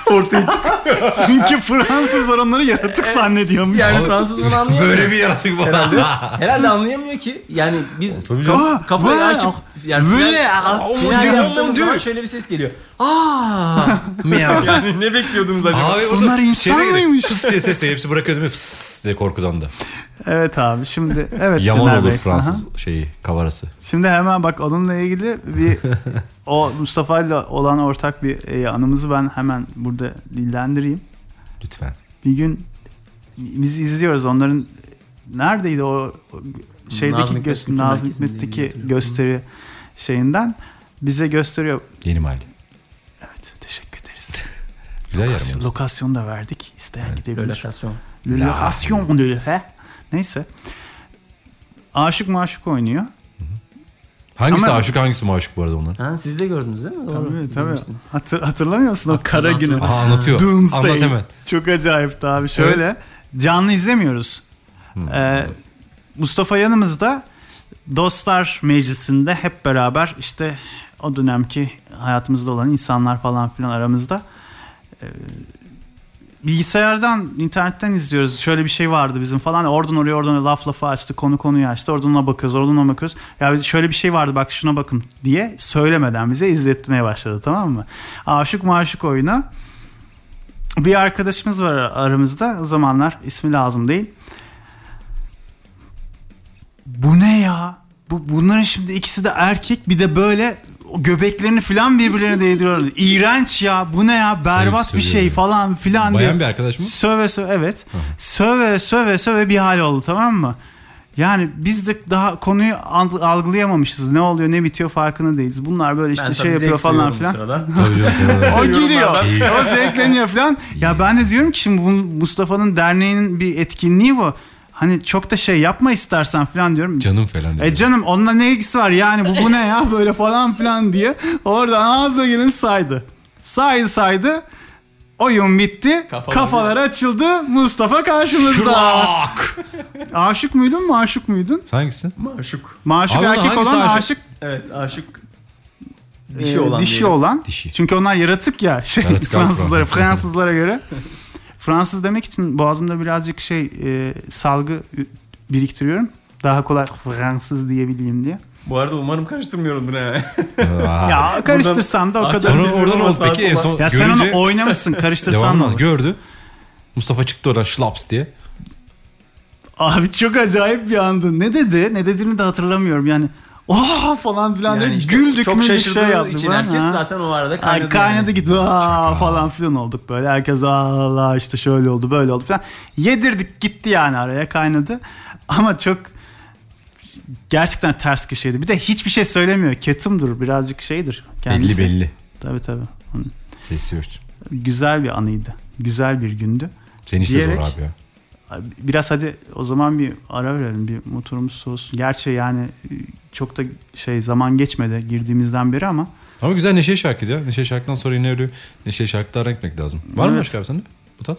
Ortaya çıkıyor. Çünkü Fransızlar onları yaratık zannediyormuş. yani Fransız bunu anlayamıyor. Böyle bir yaratık var. Herhalde, herhalde anlayamıyor ki. Yani biz tabii kaf- canım. kafayı Aa, açıp yani böyle, final, ah, final diyor, yaptığımız diyor. zaman şöyle bir ses geliyor. Aa! yani ne bekliyordunuz acaba? Abi orada Bunlar insan şeyde- mıymış? Fıs diye sesle hepsi bırakıyor değil mi? Fıs diye korkudan da. Evet abi şimdi evet Yaman Caner olur Bey. Fransız Aha. şeyi kavarası. Şimdi hemen bak onunla ilgili bir o Mustafa ile olan ortak bir e, anımızı ben hemen burada dillendireyim. Lütfen. Bir gün biz izliyoruz onların neredeydi o o şeydeki Nazım Nazım Hikmet Kültür Nazım Merkezi'ndeydi diye Hikmet'teki hatırlıyorum. gösteri şeyinden bize gösteriyor. Yeni mahalle. Evet teşekkür ederiz. Güzel yer Lokasyon, mi? lokasyonu da verdik. İsteyen gidebilir. Lokasyon. Le Lokasyon de Lefe. Neyse. Aşık maşuk oynuyor. Hangisi Ama- aşık hangisi maşuk bu arada onların? Ha, siz de gördünüz değil mi? Doğru. Tabii, tabii. izlemiştiniz. Hatır, hatırlamıyor musun o kara Hatırladım. günü? Aa anlatıyor. Doomsday. Anlat hemen. Çok acayipti abi. Şöyle canlı izlemiyoruz. Hmm. Ee, Mustafa yanımızda Dostlar Meclisi'nde hep beraber işte o dönemki hayatımızda olan insanlar falan filan aramızda. Ee, Bilgisayardan, internetten izliyoruz. Şöyle bir şey vardı bizim falan. Oradan oraya, oradan oraya laf lafa açtı, konu konuyu açtı. Oradan ona bakıyoruz, oradan ona bakıyoruz. Ya biz şöyle bir şey vardı bak şuna bakın diye söylemeden bize izletmeye başladı tamam mı? Aşık maşık oyunu. Bir arkadaşımız var aramızda. O zamanlar ismi lazım değil. Bu ne ya? Bu bunların şimdi ikisi de erkek bir de böyle o göbeklerini filan birbirlerine değdiriyorlar. İğrenç ya. Bu ne ya? Berbat bir şey söylüyorum. falan filan diye. Bayan bir arkadaş mı? Söve söve evet. Söve söve söve bir hal oldu tamam mı? Yani biz de daha konuyu al- algılayamamışız. Ne oluyor ne bitiyor farkında değiliz. Bunlar böyle işte Ben şey tabii zevk yapıyor falan duyuyorum bu filan. sırada. Tabii canım sana da. O giriyor. İyi. o zevkleniyor falan. Ya ben de diyorum ki şimdi bu Mustafa'nın derneğinin bir etkinliği bu. Hani çok da şey yapma istersen falan diyorum. Canım falan dedi. E canım onunla ne ilgisi var yani bu, bu ne ya böyle falan filan diye. Oradan ağzına gelin saydı. Saydı saydı. Oyun bitti. Kafalar- Kafalar açıldı. Mustafa karşımızda. Aşık muydun mu? Aşık muydun? Hangisin? Maşuk. Maşuk Abi, erkek hangisi olan aşık? aşık, Evet aşık. e, Dişi olan. dişi diyelim. olan. Dişi. Çünkü onlar yaratık ya. Şey, Yaratık abi, Fransızlara Fransız. Fransızlara göre. Fransız demek için boğazımda birazcık şey e, salgı biriktiriyorum. Daha kolay Fransız diyebileyim diye. Bu arada umarım karıştırmıyorumdur ha. Ya. Ya karıştırsan da o Aa, kadar. Sonra Dönmesi oradan olmaz, oldu peki sağa en sola. son Ya sen görünce onu oynamışsın karıştırsan devamlı mı? gördü. Mustafa çıktı oradan şlaps diye. Abi çok acayip bir andı. Ne dedi? Ne dediğini de hatırlamıyorum yani. Oha falan filan Yani dedi. işte güldük çok müldük şaşırdığı şey yaptık. için falan. herkes Ha. zaten o arada kaynadı. Ay kaynadı yani. gitti Aa, falan filan olduk böyle. Herkes "Aa, Allah işte şöyle oldu böyle oldu falan. Yedirdik gitti yani araya kaynadı. Ama çok gerçekten ters köşeydi. Bir de hiçbir şey söylemiyor. Ketumdur birazcık şeydir kendisi. Belli belli. Tabii tabii. Sesi ölç. Güzel bir anıydı. Güzel bir gündü. Senin işte zor Diyerek- abi ya. Biraz hadi o zaman bir ara verelim. Bir motorumuz soğusun. Gerçi yani e, çok da şey zaman geçmedi girdiğimizden beri ama Ama güzel Neşe şarkıydı ya. Neşe şarkıdan sonra yine öyle Neşe şarkılardan gitmek lazım. Var mı Evet. başka abi sende? Bu tat.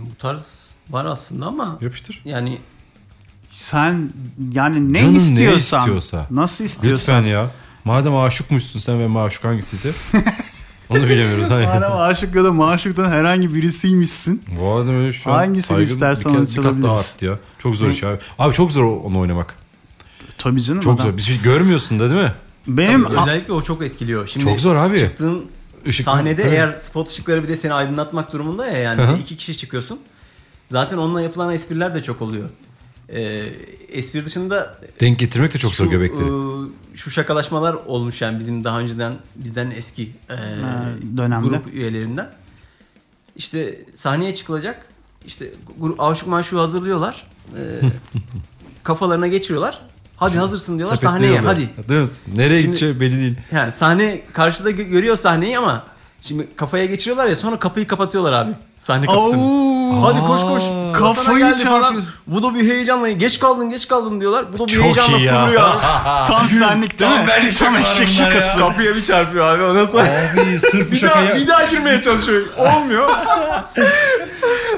Bu tarz var aslında ama Yapıştır. yani Sen yani ne Canın ne istiyorsan, istiyorsa. nasıl istiyorsan. Lütfen ya. Madem aşıkmışsın sen ve maşuk hangisiyse. onu bilemiyoruz. Hayır. Madem aşık ya da maşuktan herhangi birisiymişsin. Bu arada böyle şu an Hangisini saygın istersen bir, onu kat- bir kat daha çalabiliriz. arttı ya. Çok zor iş abi. Abi çok zor onu oynamak. Tabii canım. Çok adam. zor. Bir şey görmüyorsun da değil mi? Benim özellikle o çok etkiliyor. Şimdi Çok zor abi. Çıktığın Işık- sahnede Tabii. eğer spot ışıkları bir de seni aydınlatmak durumunda ya yani Hı bir hı. de iki kişi çıkıyorsun. Zaten onunla yapılan espriler de çok oluyor. Ee, espri dışında Denk getirmek de çok zor şu, göbekleri. e, şu şakalaşmalar olmuş yani bizim daha önceden bizden eski e, dönemde. grup üyelerinden. İşte sahneye çıkılacak. İşte grup aşık maşuğu hazırlıyorlar. E, kafalarına geçiriyorlar. Hadi hazırsın diyorlar sahneye Sepetliyorlar. hadi. Değil mi? Nereye Şimdi- gideceği belli değil. Yani sahne karşıda gö- görüyor sahneyi ama şimdi kafaya geçiriyorlar ya sonra kapıyı kapatıyorlar abi. Sahne kapısını. Oo, Hadi koş koş. Sıra sana Kafayı geldi falan. çarpıyorsun. Bu da bir heyecanla geç kaldın geç kaldın diyorlar. Bu da bir Çok heyecanla iyi ya. fırlıyor. tam senlik değil mi? benlik tam şakalarım eşek bunlar ya. şakası. Kapıya bir çarpıyor abi ondan sonra. Abi sırf bir bir, şaka daha, ya. bir daha girmeye çalışıyor. Olmuyor.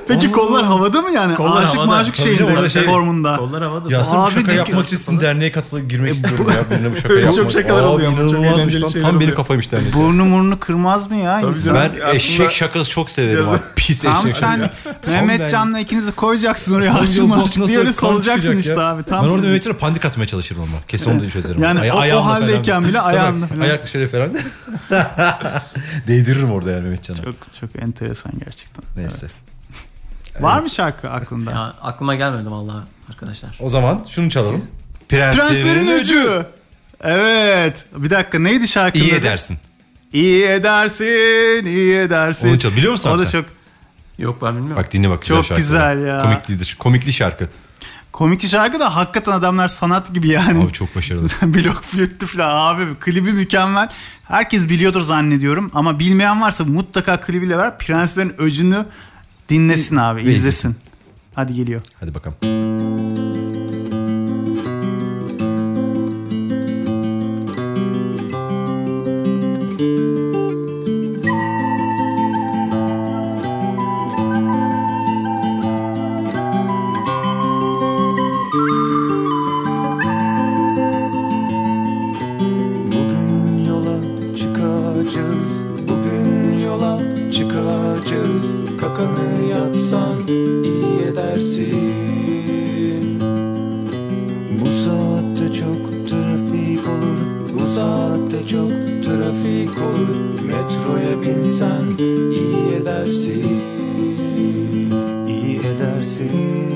Peki kollar havada mı yani? Kollar aşık havada. maşuk Tabii canım, şeyinde orada şey- formunda. Kollar havada. Ya sırf Abi bu şaka dedi ki- yapmak için sizin derneğe katılıp girmek istiyorum ya. Benimle bu şaka Öyle yapmak. E, çok şakalar Abi oluyor ama çok inanılmazmış eğlenceli lan. şeyler Tam benim oluyor. kafaymış dernek. Burnu murnu kırmaz mı ya insan? Ben Aslında- eşek şakası çok severim abi. Pis Tamam eşek şakası. sen Mehmet Can'la ikinizi koyacaksın oraya Tam aşık yok, bak maşuk nasıl diye öyle kan salacaksın çıkacak işte ya. abi. Tam ben orada sizin. Mehmetcan'a panik atmaya çalışırım ama. Kesin onu da çözerim. Yani o- o ayağımla falan. haldeyken bile Tabii, ayağımla falan. Ayak dışarı falan. Değdiririm orada yani Mehmetcan'a. Çok çok enteresan gerçekten. Neyse. Var mı şarkı aklında? Ya aklıma gelmedi vallahi arkadaşlar. O zaman şunu çalalım. Prenslerin, Prenslerin Öcü. Evet. Bir dakika neydi şarkının İyi adı? edersin. İyi edersin, iyi edersin. Onu çal- biliyor musun O abi da sen? çok Yok ben bilmiyorum. Bak dinle bak güzel Çok şarkı. güzel ya. Komiklidir. Komikli şarkı. komik bir şarkı da hakikaten adamlar sanat gibi yani. Abi çok başarılı. Blok flüttü falan abi. Klibi mükemmel. Herkes biliyordur zannediyorum ama bilmeyen varsa mutlaka klibiyle ver. Prenslerin Öcü'nü dinlesin abi, izlesin. izlesin. Hadi geliyor. Hadi bakalım. Bugün yola çıkacağız Bugün yola çıkacağız Kakanı yapsan iyi edersin Bu saatte çok trafik olur Bu saatte çok trafik olur Metroya binsen iyi edersin İyi edersin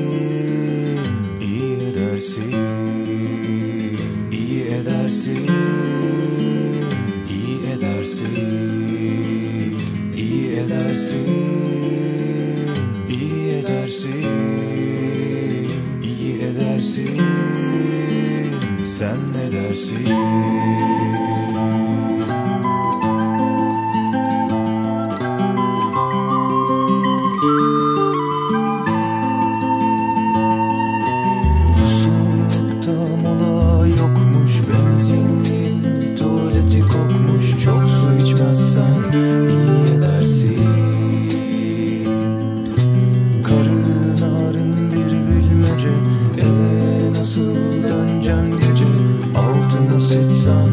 iyi edersin iyi edersin iyi edersin iyi edersin iyi edersin iyi edersin sen ne dersin Soğukta mola yokmuş benzinliğin tuvaleti kokmuş çok su içmezsen iyi edersin Karın ağrın bir bilmece eve nasıl döneceksin gece altını sıçsan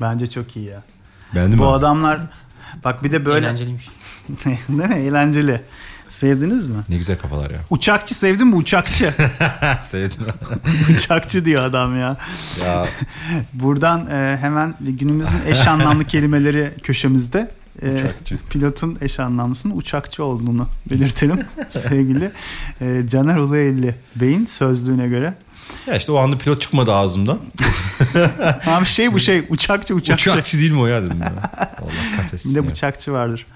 Bence çok iyi ya. Beğendin mi? Bu adamlar bak bir de böyle Eğlenceliymiş. değil mi? Eğlenceli. Sevdiniz mi? Ne güzel kafalar ya. Uçakçı sevdin mi uçakçı? Sevdim. uçakçı diyor adam ya. ya Buradan e, hemen günümüzün eş anlamlı kelimeleri köşemizde. e, Uçakçı. pilotun eş anlamlısının uçakçı olduğunu belirtelim sevgili e, Caner Uluelli Bey'in sözlüğüne göre. Ya işte o anda pilot çıkmadı ağzımdan. Abi şey bu şey uçakçı uçakçı. Uçakçı değil mi o ya dedim. ya. Allah kahretsin. Bir de ya. bıçakçı vardır.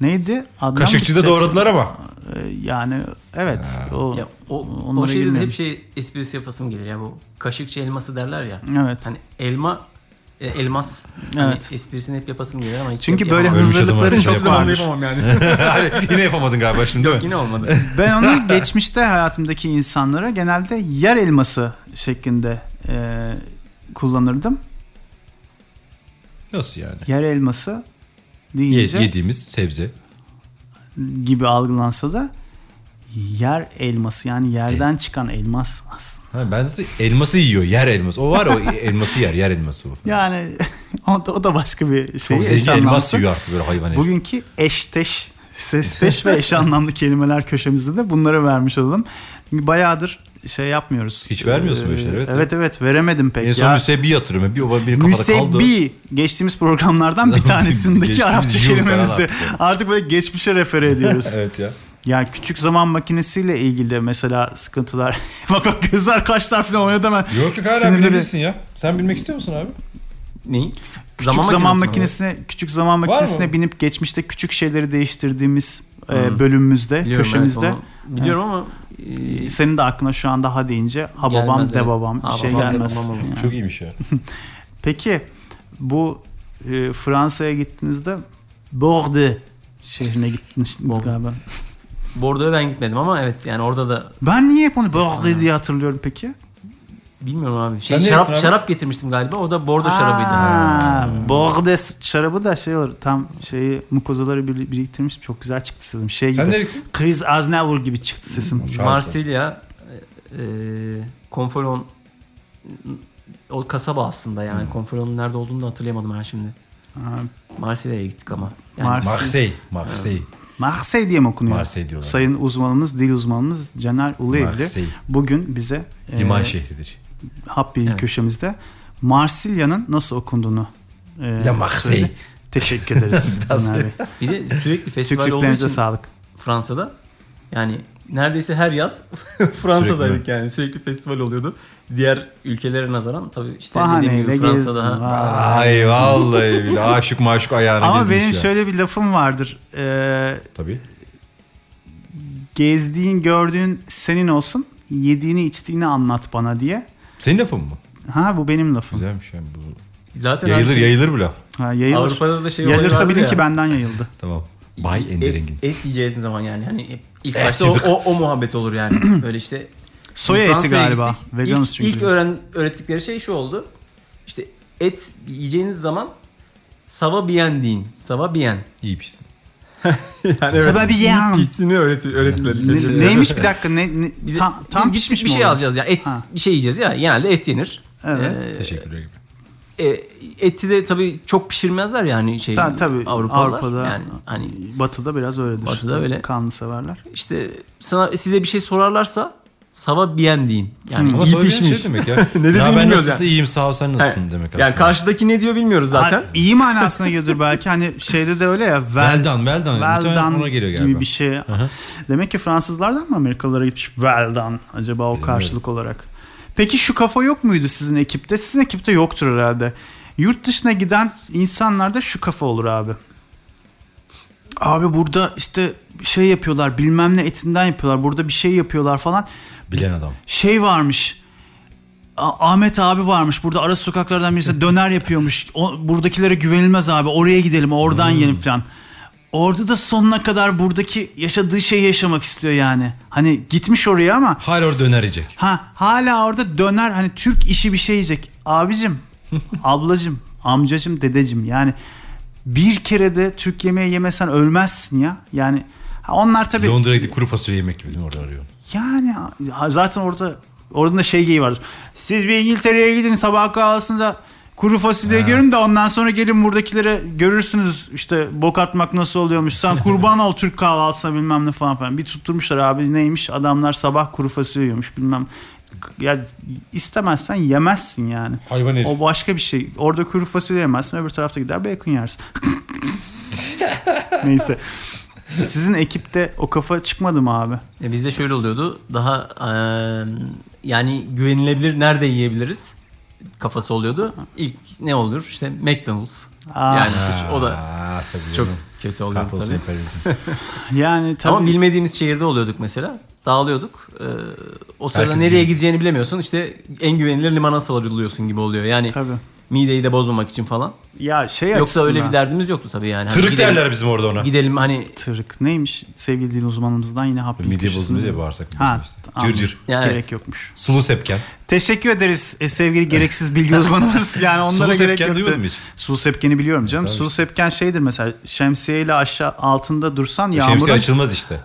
Neydi? Adnan Kaşıkçı da Bıçak- doğradılar ama. E, Yani evet. O, Ya, o, o onlara şeyde de girmeyelim. hep şey esprisi yapasım gelir ya bu kaşıkçı elması derler ya. Evet. Hani elma e, elmas hani Hmm. Evet. esprisini hep yapasım gelir ama hiç Çünkü yapamam. böyle Ölmüş şey hazırlıkları adamı çok yapacak vardır. yani. Hani yine yapamadın galiba şimdi değil mi? Yine olmadı. Ben onu geçmişte hayatımdaki insanlara genelde yer elması şeklinde e, kullanırdım. Nasıl yani? Yer elması Ye- deyince yediğimiz sebze. gibi algılansa da yer elması yani E. yerden çıkan elmas aslında. Ha, ben de elması yiyor. Yer elması. O var ya, o elması yer. Yer elması o. Yani o da, o da başka bir şey. Çok eş zengin elmas anlamlısı. yiyor artık böyle hayvan herif. Bugünkü eşteş, sesteş ve eş anlamlı kelimeler köşemizde de bunları vermiş olalım. Çünkü bayağıdır şey yapmıyoruz. Hiç vermiyorsun böyle şeyler, Evet evet. evet, veremedim pek. En son ya. müsebbi yatırımı. Bir, o benim kafada kaldı. Müsebbi geçtiğimiz programlardan bir tanesindeki Geçtiğimiz Arapça yıl falan kelimemizdi. artık yani. Artık böyle geçmişe refere ediyoruz. Evet ya. Yani küçük zaman makinesiyle ilgili mesela sıkıntılar. bak bak gözler kaşlar falan oynadı hemen. Yok yok hala Sinirleri- bilebilirsin ya. Sen bilmek istiyor musun abi? Neyi? Küçük zaman, makinesine, küçük zaman mı? makinesine binip geçmişte küçük şeyleri değiştirdiğimiz e, bölümümüzde, Biliyorum, evet, köşemizde. onu Biliyorum ama e, Senin de aklına şu anda ha deyince ha babam Gelmez, de evet. babam bir Ha şey babam, de gelmez. babam olur. Çok iyiymiş ya. Peki bu e, Fransa'ya gittiğinizde Bordeaux şehrine gittiniz galiba. e, Bordo'ya ben gitmedim ama evet yani orada da Ben niye hep onu Bordeaux diye hatırlıyorum peki? bilmiyorum abi. Şey, Sen ne şarap yaptın abi? şarap getirmiştim galiba. O da Bordo şarabıydı. Ha, Hmm. Bordeaux şarabı da şey olur tam şeyi mukozaları bir- biriktirmiş çok güzel çıktı sesim. Şey Sen gibi. nereye gittin? Chris Aznavour gibi çıktı sesim. Marsilya e, e, Konfolon o kasaba aslında yani. Konfolon'un nerede olduğunu da hatırlayamadım ben şimdi. Ha, Marsilya'ya gittik ama. Yani Mars- Marseille. Marseille. Marseille diye mi okunuyor? Marseille diyorlar. Sayın uzmanımız, dil uzmanımız Caner Uluevli Marseille. bugün bize e, Liman şehridir. hap bilgi Evet. köşemizde Marsilya'nın nasıl okunduğunu e, La Marseille. söyledi. Teşekkür ederiz Caner Bey. bir de sürekli Türk festival olduğu Türklerinize için sağlık. Fransa'da yani neredeyse her yaz Fransa'daydık yani sürekli festival oluyordu. Diğer ülkelere nazaran tabii işte dediğim Bahaneyle gibi gezdim. Fransa daha Vay. Ay vallahi bile aşık maşuk ayağına Ama gezmiş benim ya. şöyle bir lafım vardır. E, Tabii. gezdiğin, gördüğün senin olsun. Yediğini, içtiğini anlat bana diye. Senin lafın mı? Ha bu benim lafım. Güzelmiş yani bu. zaten her Yayılır şey- yayılır bu laf. Ha, yayılır. Avrupa'da da şey olayı Yayılırsa vardır bilin ya. ki benden yayıldı. Tamam. Bay E- Enderengin. Et, et diyeceğiniz zaman yani hani hep ilk Et başta o, yedik. o, o muhabbet olur yani. Böyle işte Soya eti Fransa'ya galiba. gittik. Veganız ilk, çünkü. ilk öğren, öğrettikleri şey şu oldu. İşte et yiyeceğiniz zaman sava bien deyin. Sava bien. İyi pişsin. Yani evet, Sava bien. Pisini öğreti, öğrettiler. Ne- neymiş bir dakika ne, ne- Bize- tam, tam biz gittik pişmiş bir mi şey oldu? alacağız ya. Et Ha. bir şey yiyeceğiz ya. Genelde et yenir. Evet. Teşekkürler gibi. Ee, e, eti de tabii çok pişirmezler yani şey Ta- tabii Avrupalılar. Avrupa'da yani hani Batı'da biraz öyledir. Batı'da öyle. Kanlı severler. işte sana size bir şey sorarlarsa sava bien deyin. Yani Ama iyi sonra bir pişmiş. şey demek ya. ne dediğini ben bilmiyoruz nasılsın yani. iyiyim sağ ol sen nasılsın Ha, demek aslında. Yani karşıdaki ne diyor bilmiyoruz zaten. Ha, iyi manasına geliyordur belki. Hani şeyde de öyle ya. Well Well, done, well done. well Muhtemelen done ona geliyor galiba. gibi bir şey. Demek ki Fransızlardan mı Amerikalılara gitmiş well done acaba o Bilmiyorum. karşılık olarak. Peki şu kafa yok muydu sizin ekipte? Sizin ekipte yoktur herhalde. Yurt dışına giden insanlarda şu kafa olur abi. Abi burada işte şey yapıyorlar bilmem ne etinden yapıyorlar. Burada bir şey yapıyorlar falan. Bilen adam. şey varmış. A- Ahmet abi varmış. Burada ara sokaklardan birisi döner yapıyormuş. O, buradakilere güvenilmez abi. Oraya gidelim, oradan yiyelim falan. Orada da sonuna kadar buradaki yaşadığı şeyi yaşamak istiyor yani. Hani gitmiş oraya ama Hala orada döner yiyecek. ha hala orada döner hani Türk işi bir şey yiyecek. Abicim, ablacım, amcacım, dedecim yani bir kere de Türk yemeği yemesen ölmezsin ya. Yani ha onlar tabii Londra'ya gidip kuru fasulye yemek gibi değil mi orada arıyor? yani ha, zaten orada orada da şey geyiği vardır. Siz bir İngiltere'ye gidin sabah kahvaltısında Kuru fasulye görün de ondan sonra gelin buradakilere görürsünüz işte bok atmak nasıl oluyormuş. Sen kurban ol Türk kahvaltısına bilmem ne falan filan. Bir tutturmuşlar abi neymiş adamlar sabah kuru fasulye yiyormuş bilmem. Ya istemezsen yemezsin yani. Hayvan herif. O başka bir şey. Orada kuru fasulye yemezsin öbür tarafta gider bacon yersin. Neyse. Sizin ekipte o kafa çıkmadı mı abi? E, Bizde şöyle oluyordu. Daha e, yani güvenilebilir nerede yiyebiliriz kafası oluyordu. İlk ne olur? İşte McDonald's. Aa, Yani işte o da Aa, tabii çok canım. kötü oluyor Kahrolsun tabii. emperyalizm. yani tabii. Ama bilmediğimiz şehirde oluyorduk mesela. Dağılıyorduk. E, o sırada Herkes nereye gizli. gideceğini bilemiyorsun. İşte en güvenilir limana sarılıyorsun gibi oluyor. Yani Tabii. mideyi de bozmamak için falan. Ya şey Yoksa öyle açısından- bir derdimiz yoktu tabii yani. Hani Tırık gidelim- derler bizim orada ona. Gidelim hani Tırık neymiş sevgili din uzmanımızdan yine hap Midye köşesinde. bozuldu diye bağırsak. Ha, Ha, anladım. Cır cır. Ya gerek evet. yokmuş. Sulu sepken. Teşekkür ederiz e, sevgili gereksiz bilgi uzmanımız. Yani onlara Sulu gerek sepken yoktu. duymadın mı hiç? Sulu sepkeni biliyorum canım. Sulu sepken şeydir mesela şemsiyeyle aşağı altında dursan E, Şemsiye yağmurun Şey, açılmaz işte.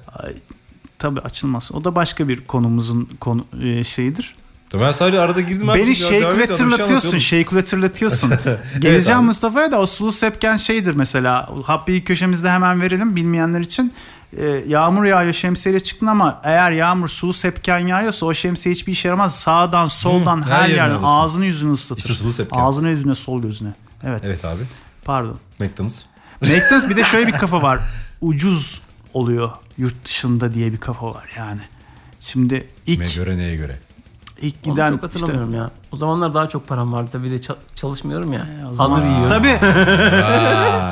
tabii açılmaz. O da başka bir konumuzun konu e, şeyidir. Ben sadece arada girdim. abi, ya, Beni devam şekle et, adam bir şey tırlatıyorsun, anlatıyor. şekle tırlatıyorsun. Evet Geleceğim abi. Mustafa'ya da o sulu sepken şeydir mesela. Habbi'yi köşemizde hemen verelim bilmeyenler için. Ee, yağmur yağıyor şemsiyeyle çıktın ama eğer yağmur sulu sepken yağıyorsa o şemsiye hiçbir işe yaramaz. Sağdan, soldan, her her, yerine yerden alırsın. ağzını yüzünü ıslatır. İşte sulu sepken. Ağzını yüzüne, sol gözüne. Evet, Evet abi. pardon. McDonald's. McDonald's bir de şöyle bir kafa var. Ucuz oluyor yurt dışında diye bir kafa var yani. Şimdi Kime ilk, göre neye göre? ilk Onu giden çok hatırlamıyorum ya. O zamanlar daha çok param vardı tabii de ça- çalışmıyorum ya. E, o zaman- Hazır yiyorum. Tabii. Aa,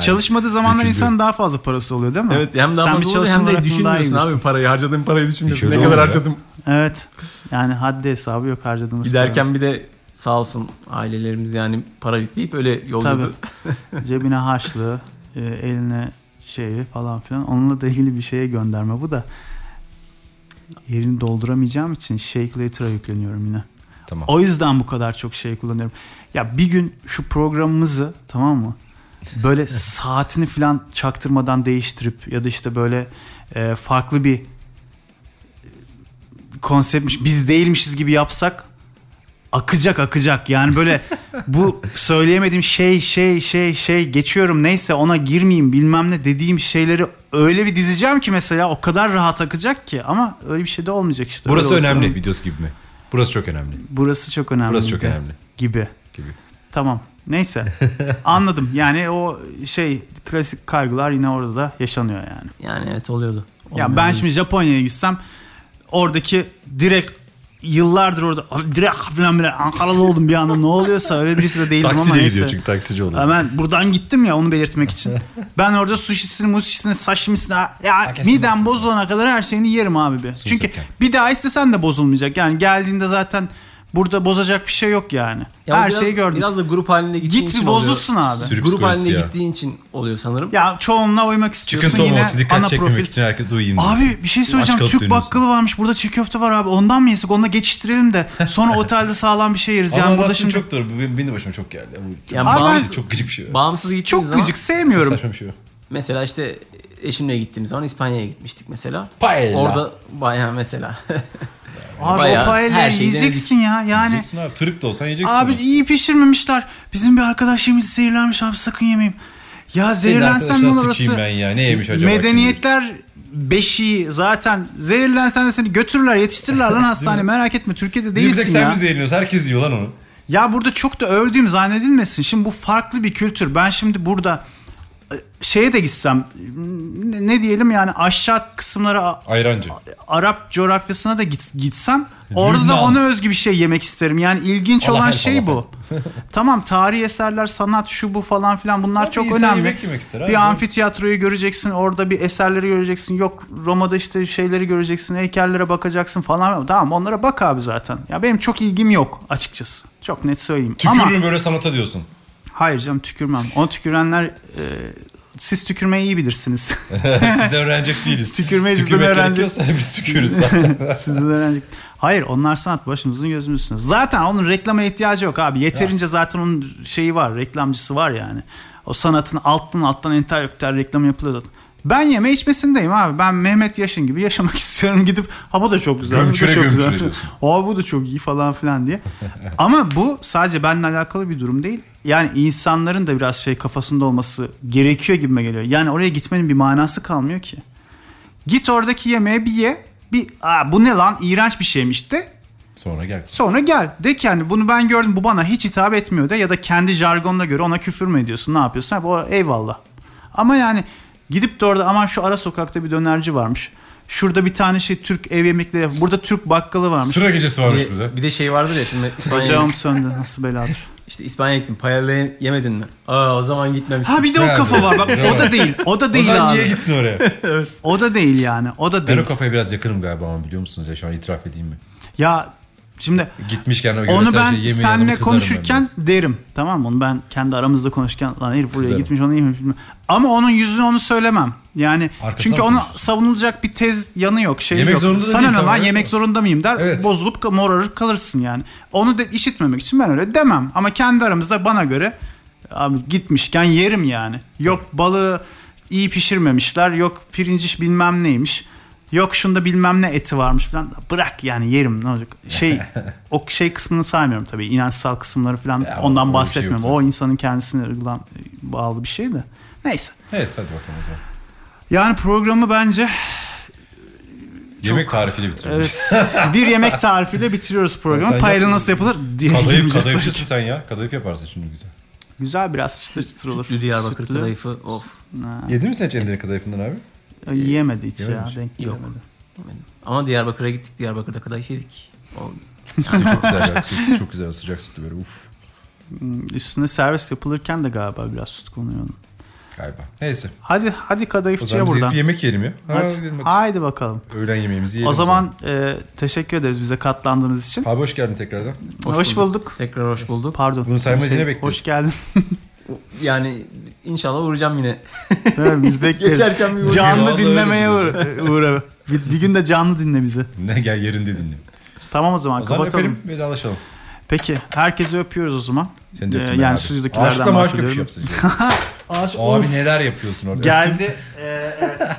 Çalışmadığı zamanlar Döküldü. insan daha fazla parası oluyor değil mi? Evet hem daha Sen bir fazla oluyor çalışan hem olarak de bunu düşünmüyorsun daha şey iyi abi parayı. Harcadığım parayı düşünmüyorsun. Şöyle Ne kadar olmuyor. harcadım. Evet. Yani haddi hesabı yok harcadığımız para. Giderken bir de sağ olsun ailelerimiz yani para yükleyip öyle Tabii. yolluyordu. Cebine harçlığı, e, eline şeyi falan filan. Onunla da ilgili bir şeye gönderme bu da. Yerini dolduramayacağım için Shake Later'a yükleniyorum yine. Tamam. O yüzden bu kadar çok şey kullanıyorum. Ya bir gün şu programımızı tamam mı? Böyle saatini falan çaktırmadan değiştirip ya da işte böyle e, farklı bir e, konseptmiş biz değilmişiz gibi yapsak akacak akacak. Yani böyle bu söyleyemediğim şey şey şey şey geçiyorum neyse ona girmeyeyim bilmem ne dediğim şeyleri öyle bir dizeceğim ki mesela o kadar rahat akacak ki ama öyle bir şey de olmayacak işte. Burası Öyle olsa- önemli videosu gibi mi? Burası çok önemli. Burası çok önemli. Burası çok de önemli. Gibi. Gibi. Tamam. Neyse. Anladım. Yani o şey klasik kaygılar yine orada da yaşanıyor yani. Yani evet oluyordu. ya ben şimdi Japonya'ya gitsem oradaki direkt yıllardır orada "Abi direkt falan bile Ankaralı oldum bir anda ne oluyorsa öyle birisi de değilim ama Taksiyle gidiyor neyse. çünkü taksici oluyor. Hemen buradan gittim ya onu belirtmek için. Ben orada sushisini, mushisini, sashimisini ya midem bozulana kadar her şeyini yerim abi be. Çünkü sekken. bir daha istesen de bozulmayacak. Yani geldiğinde zaten burada bozacak bir şey yok yani. Ya her biraz- şeyi gördüm. Biraz da grup halinde gittiğin Git için bir oluyor. bozulsun abi. Sürü Grup psikolojisi halinde ya. gittiğin için oluyor sanırım. Ya çoğunla uymak istiyorsun Çıkıntı yine olmamak için ana dikkat profil. çekmemek için herkes uyuyayım. diyor. Abi bir şey söyleyeceğim. kalıp Türk dönüyorsun. bakkalı varmış. Burada çiğ köfte var abi. Ondan mı yesek? Onu da geçiştirelim de. Sonra otelde sağlam bir şey yeriz. Ama Yani burada anlattığın şimdi çok, çok doğru. Bu Benim, benim de başıma çok geldi. Bu- Yani Abi ben- bağımsız, çok gıcık bir şey. bağımsız gittiğin zaman. gıcık sevmiyorum. Saçma bir şey. Mesela işte eşimle gittiğimiz zaman İspanya'ya gitmiştik mesela. Paella. Orada bayağı mesela. Abi Bayağı o her paelleri şeyi yiyeceksin ya. Yani Yiyeceksin abi. Tırık da olsan yiyeceksin. abi onu. iyi pişirmemişler. Bizim bir arkadaş yemiş zehirlenmiş abi sakın yemeyeyim. Ya Senin zehirlensen ne arkadaşlar olur sıçayım ben orası? ya. Ne yemiş acaba? kim bilir? Medeniyetler beşiği zaten zehirlensen de seni götürürler yetiştirirler lan hastane merak etme Türkiye'de Bir tek değilsin sen ya. mi zehirliyorsun? Herkes yiyor lan onu. Ya burada çok da övdüğüm zannedilmesin. Şimdi bu farklı bir kültür. Ben şimdi burada e, şeye de gitsem ne ne diyelim yani aşağı kısımlara A- Ayrancı. Arap coğrafyasına da git- gitsem orada da Lübnan. ona özgü bir şey yemek isterim. Yani ilginç Allah olan her şey falan. bu. tamam tarihi eserler, sanat şu bu falan filan bunlar Abi çok insan önemli. yemek yemek ister abi. bir amfiteyatroyu göreceksin, orada bir eserleri göreceksin. Yok Roma'da işte şeyleri göreceksin, heykellere bakacaksın falan. Tamam onlara bak abi zaten. Ya benim çok ilgim yok açıkçası. Çok net söyleyeyim. Ama Tükürürüm böyle sanata diyorsun. hayır canım tükürmem. Ona tükürenler e, siz tükürmeyi iyi bilirsiniz. Biz de öğrenecek değiliz. Tükürmeyiz, biz de Tükürmek öğrenecek- gerekiyorsa biz tükürürüz zaten. Sizden öğrenecek. Hayır onlar sanat başımızın gözümüzsünüz. Zaten onun reklama ihtiyacı yok abi. Yeterince zaten onun şeyi var reklamcısı var yani. O sanatın alttan alttan entelektüel reklam yapılıyor zaten. Ben yeme içmesindeyim abi. Ben Mehmet Yaşın gibi yaşamak istiyorum gidip ha bu da çok güzel. Gömçüre bu da çok gömçüre güzel. diyorsun. Aa bu da çok iyi falan filan diye. Ama bu sadece benimle alakalı bir durum değil. yani insanların da biraz şey kafasında olması gerekiyor gibime geliyor. Yani oraya gitmenin bir manası kalmıyor ki. Git oradaki yemeği bir ye. Bir Aa, bu ne lan iğrenç bir şeymiş de. Sonra gel. Sonra gel de ki hani bunu ben gördüm bu bana hiç hitap etmiyor de ya da kendi jargonuna göre ona küfür mü ediyorsun ne yapıyorsun? Ha, bu eyvallah. Ama yani gidip de orada aman şu ara sokakta bir dönerci varmış. Şurada bir tane şey Türk ev yemekleri burada Türk bakkalı varmış. Sıra gecesi varmış Bir, bize. de- bir de şey vardır ya şimdi İspanya'ya, Hocam söndü nasıl beladır. işte İspanya'ya gittin paella yemedin mi? Aa o zaman gitmemişsin. Ha bir de o Nerede? kafa var. Bak o da değil. O da O değil zaman abi. niye gittin oraya? O da değil yani. O da ben değil. o kafaya biraz yakınım galiba ama biliyor musunuz ya şu an itiraf edeyim mi? Ya şimdi Gitmişken o onu yöresel şey ben yemeğe yanımı seninle kızarım ben konuşurken biraz. derim. Tamam mı? Onu ben kendi aramızda konuşurken lan herif buraya Kızarım. gitmiş onu yemiş. bilmem." Ama onun yüzüne onu söylemem. Yani Arkasına çünkü mı onun konuşursun? savunulacak bir tez yanı yok. Şey Yemek yok. zorunda da Sana değil ne tabii, lan evet. yemek zorunda mıyım der. Evet. Bozulup ka- morarır kalırsın yani. Onu da işitmemek için ben öyle demem. Ama kendi aramızda bana göre abi gitmişken yerim yani. Yok balığı iyi pişirmemişler. Yok pirinç bilmem neymiş. Yok şunda bilmem ne eti varmış falan. Bırak yani yerim ne olacak. Şey o şey kısmını saymıyorum tabii. İnançsal kısımları falan Ya, öyle bir şey ondan yok bahsetmiyorum. zaten. o insanın kendisine uygulan- bağlı bir şey de. Neyse. Neyse hadi bakalım o zaman. Yani programı bence Yemek tarifiyle bitirmiş. evet, bir yemek tarifiyle bitiriyoruz Sen programı. Paella yapma. nasıl yapılır diye Kadayıf, girmeyeceğiz tabii kadayıfçısın ki. sen ya. Kadayıf yaparsın şimdi güzel. Güzel biraz çıtır çıtır olur. Sütlü Diyarbakır Sütlü. kadayıfı of Ha, Yedin mi sen hiç Endire kadayıfından abi? Yiyemedi hiç ya. Yememiş. Denk Yok. gelemedi. yemedim. Ama Diyarbakır'a gittik Diyarbakır'da kadayıf yedik. O Sütlü çok güzel. ya. Sütlü çok güzel. Sıcak sütlü böyle uf. Hmm, Üstüne servis yapılırken de galiba biraz süt konuyor. onun. Galiba. Neyse. Hadi hadi O kadayıfçıya zaman biz buradan. bir yemek yiyelim ya. Ha, Hadi. gidelim hadi. Haydi bakalım. Öğlen yemeğimizi yiyelim. O zaman e, teşekkür ederiz bize katlandığınız için. Abi hoş geldin tekrardan. Hoş, bulduk. tekrar hoş bulduk. Pardon. Şey, Bunu saymayız yine bekliyoruz. Hoş geldin. Yani inşallah uğrayacağım yine. Evet, biz bekleriz. Geçerken bir uğrayayım. canlı Vallahi dinlemeye uğra. öyle uğra. Bir, bir gün de canlı dinle bizi. Ne gel yerinde dinle. Tamam o zaman O zaman kapatalım. öpelim vedalaşalım. Peki herkesi öpüyoruz o zaman. Seni de Ee, öptüm ben yani abi. stüdyodakilerden Aşkla maaşla bir şey bahsediyorum. yapsın. Aşk Abi neler yapıyorsun orada? geldi. Ee, evet.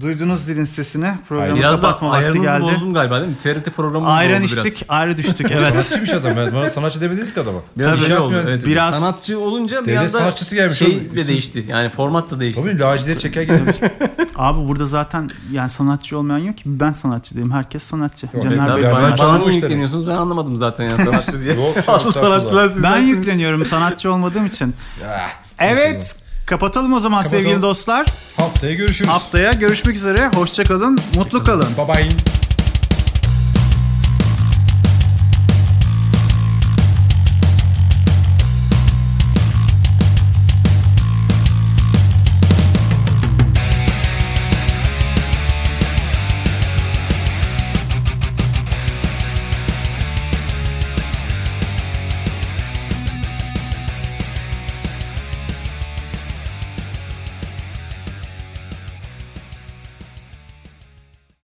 Duydunuz dilin sesini. Programı Biraz da kapatma vakti ayarınızı geldi. bozdum galiba değil mi? TRT programı Ayran oldu biraz. içtik, ayrı düştük. Evet. Sanatçıymış adam. Ben şey bana sanatçı demediniz ki adama. Biraz Tabii. öyle İnşaat oldu, mühendisi evet. dediniz. Biraz Sanatçı olunca bir Devlet anda sanatçısı gelmiş oğlum. şey Üstüne- de değişti. Yani format da değişti. Tabii lacivert çeker gelmiş. Abi burada zaten yani sanatçı olmayan yok ki. Ben sanatçı değilim. Herkes sanatçı. Yok, Caner evet abi, Bey ben bana- sanatçı- Bana Başka bu niye işleri. yükleniyorsunuz ben anlamadım zaten ya sanatçı diye. Yok canım, Asıl estağfurullah. sanatçılar siz Ben dersiniz. yükleniyorum sanatçı olmadığım için. Ah, Evet. Kapatalım o zaman Kapatalım. sevgili dostlar. Haftaya görüşürüz. Haftaya görüşmek üzere. Hoşça kalın. Mutlu kalın. Bye bye.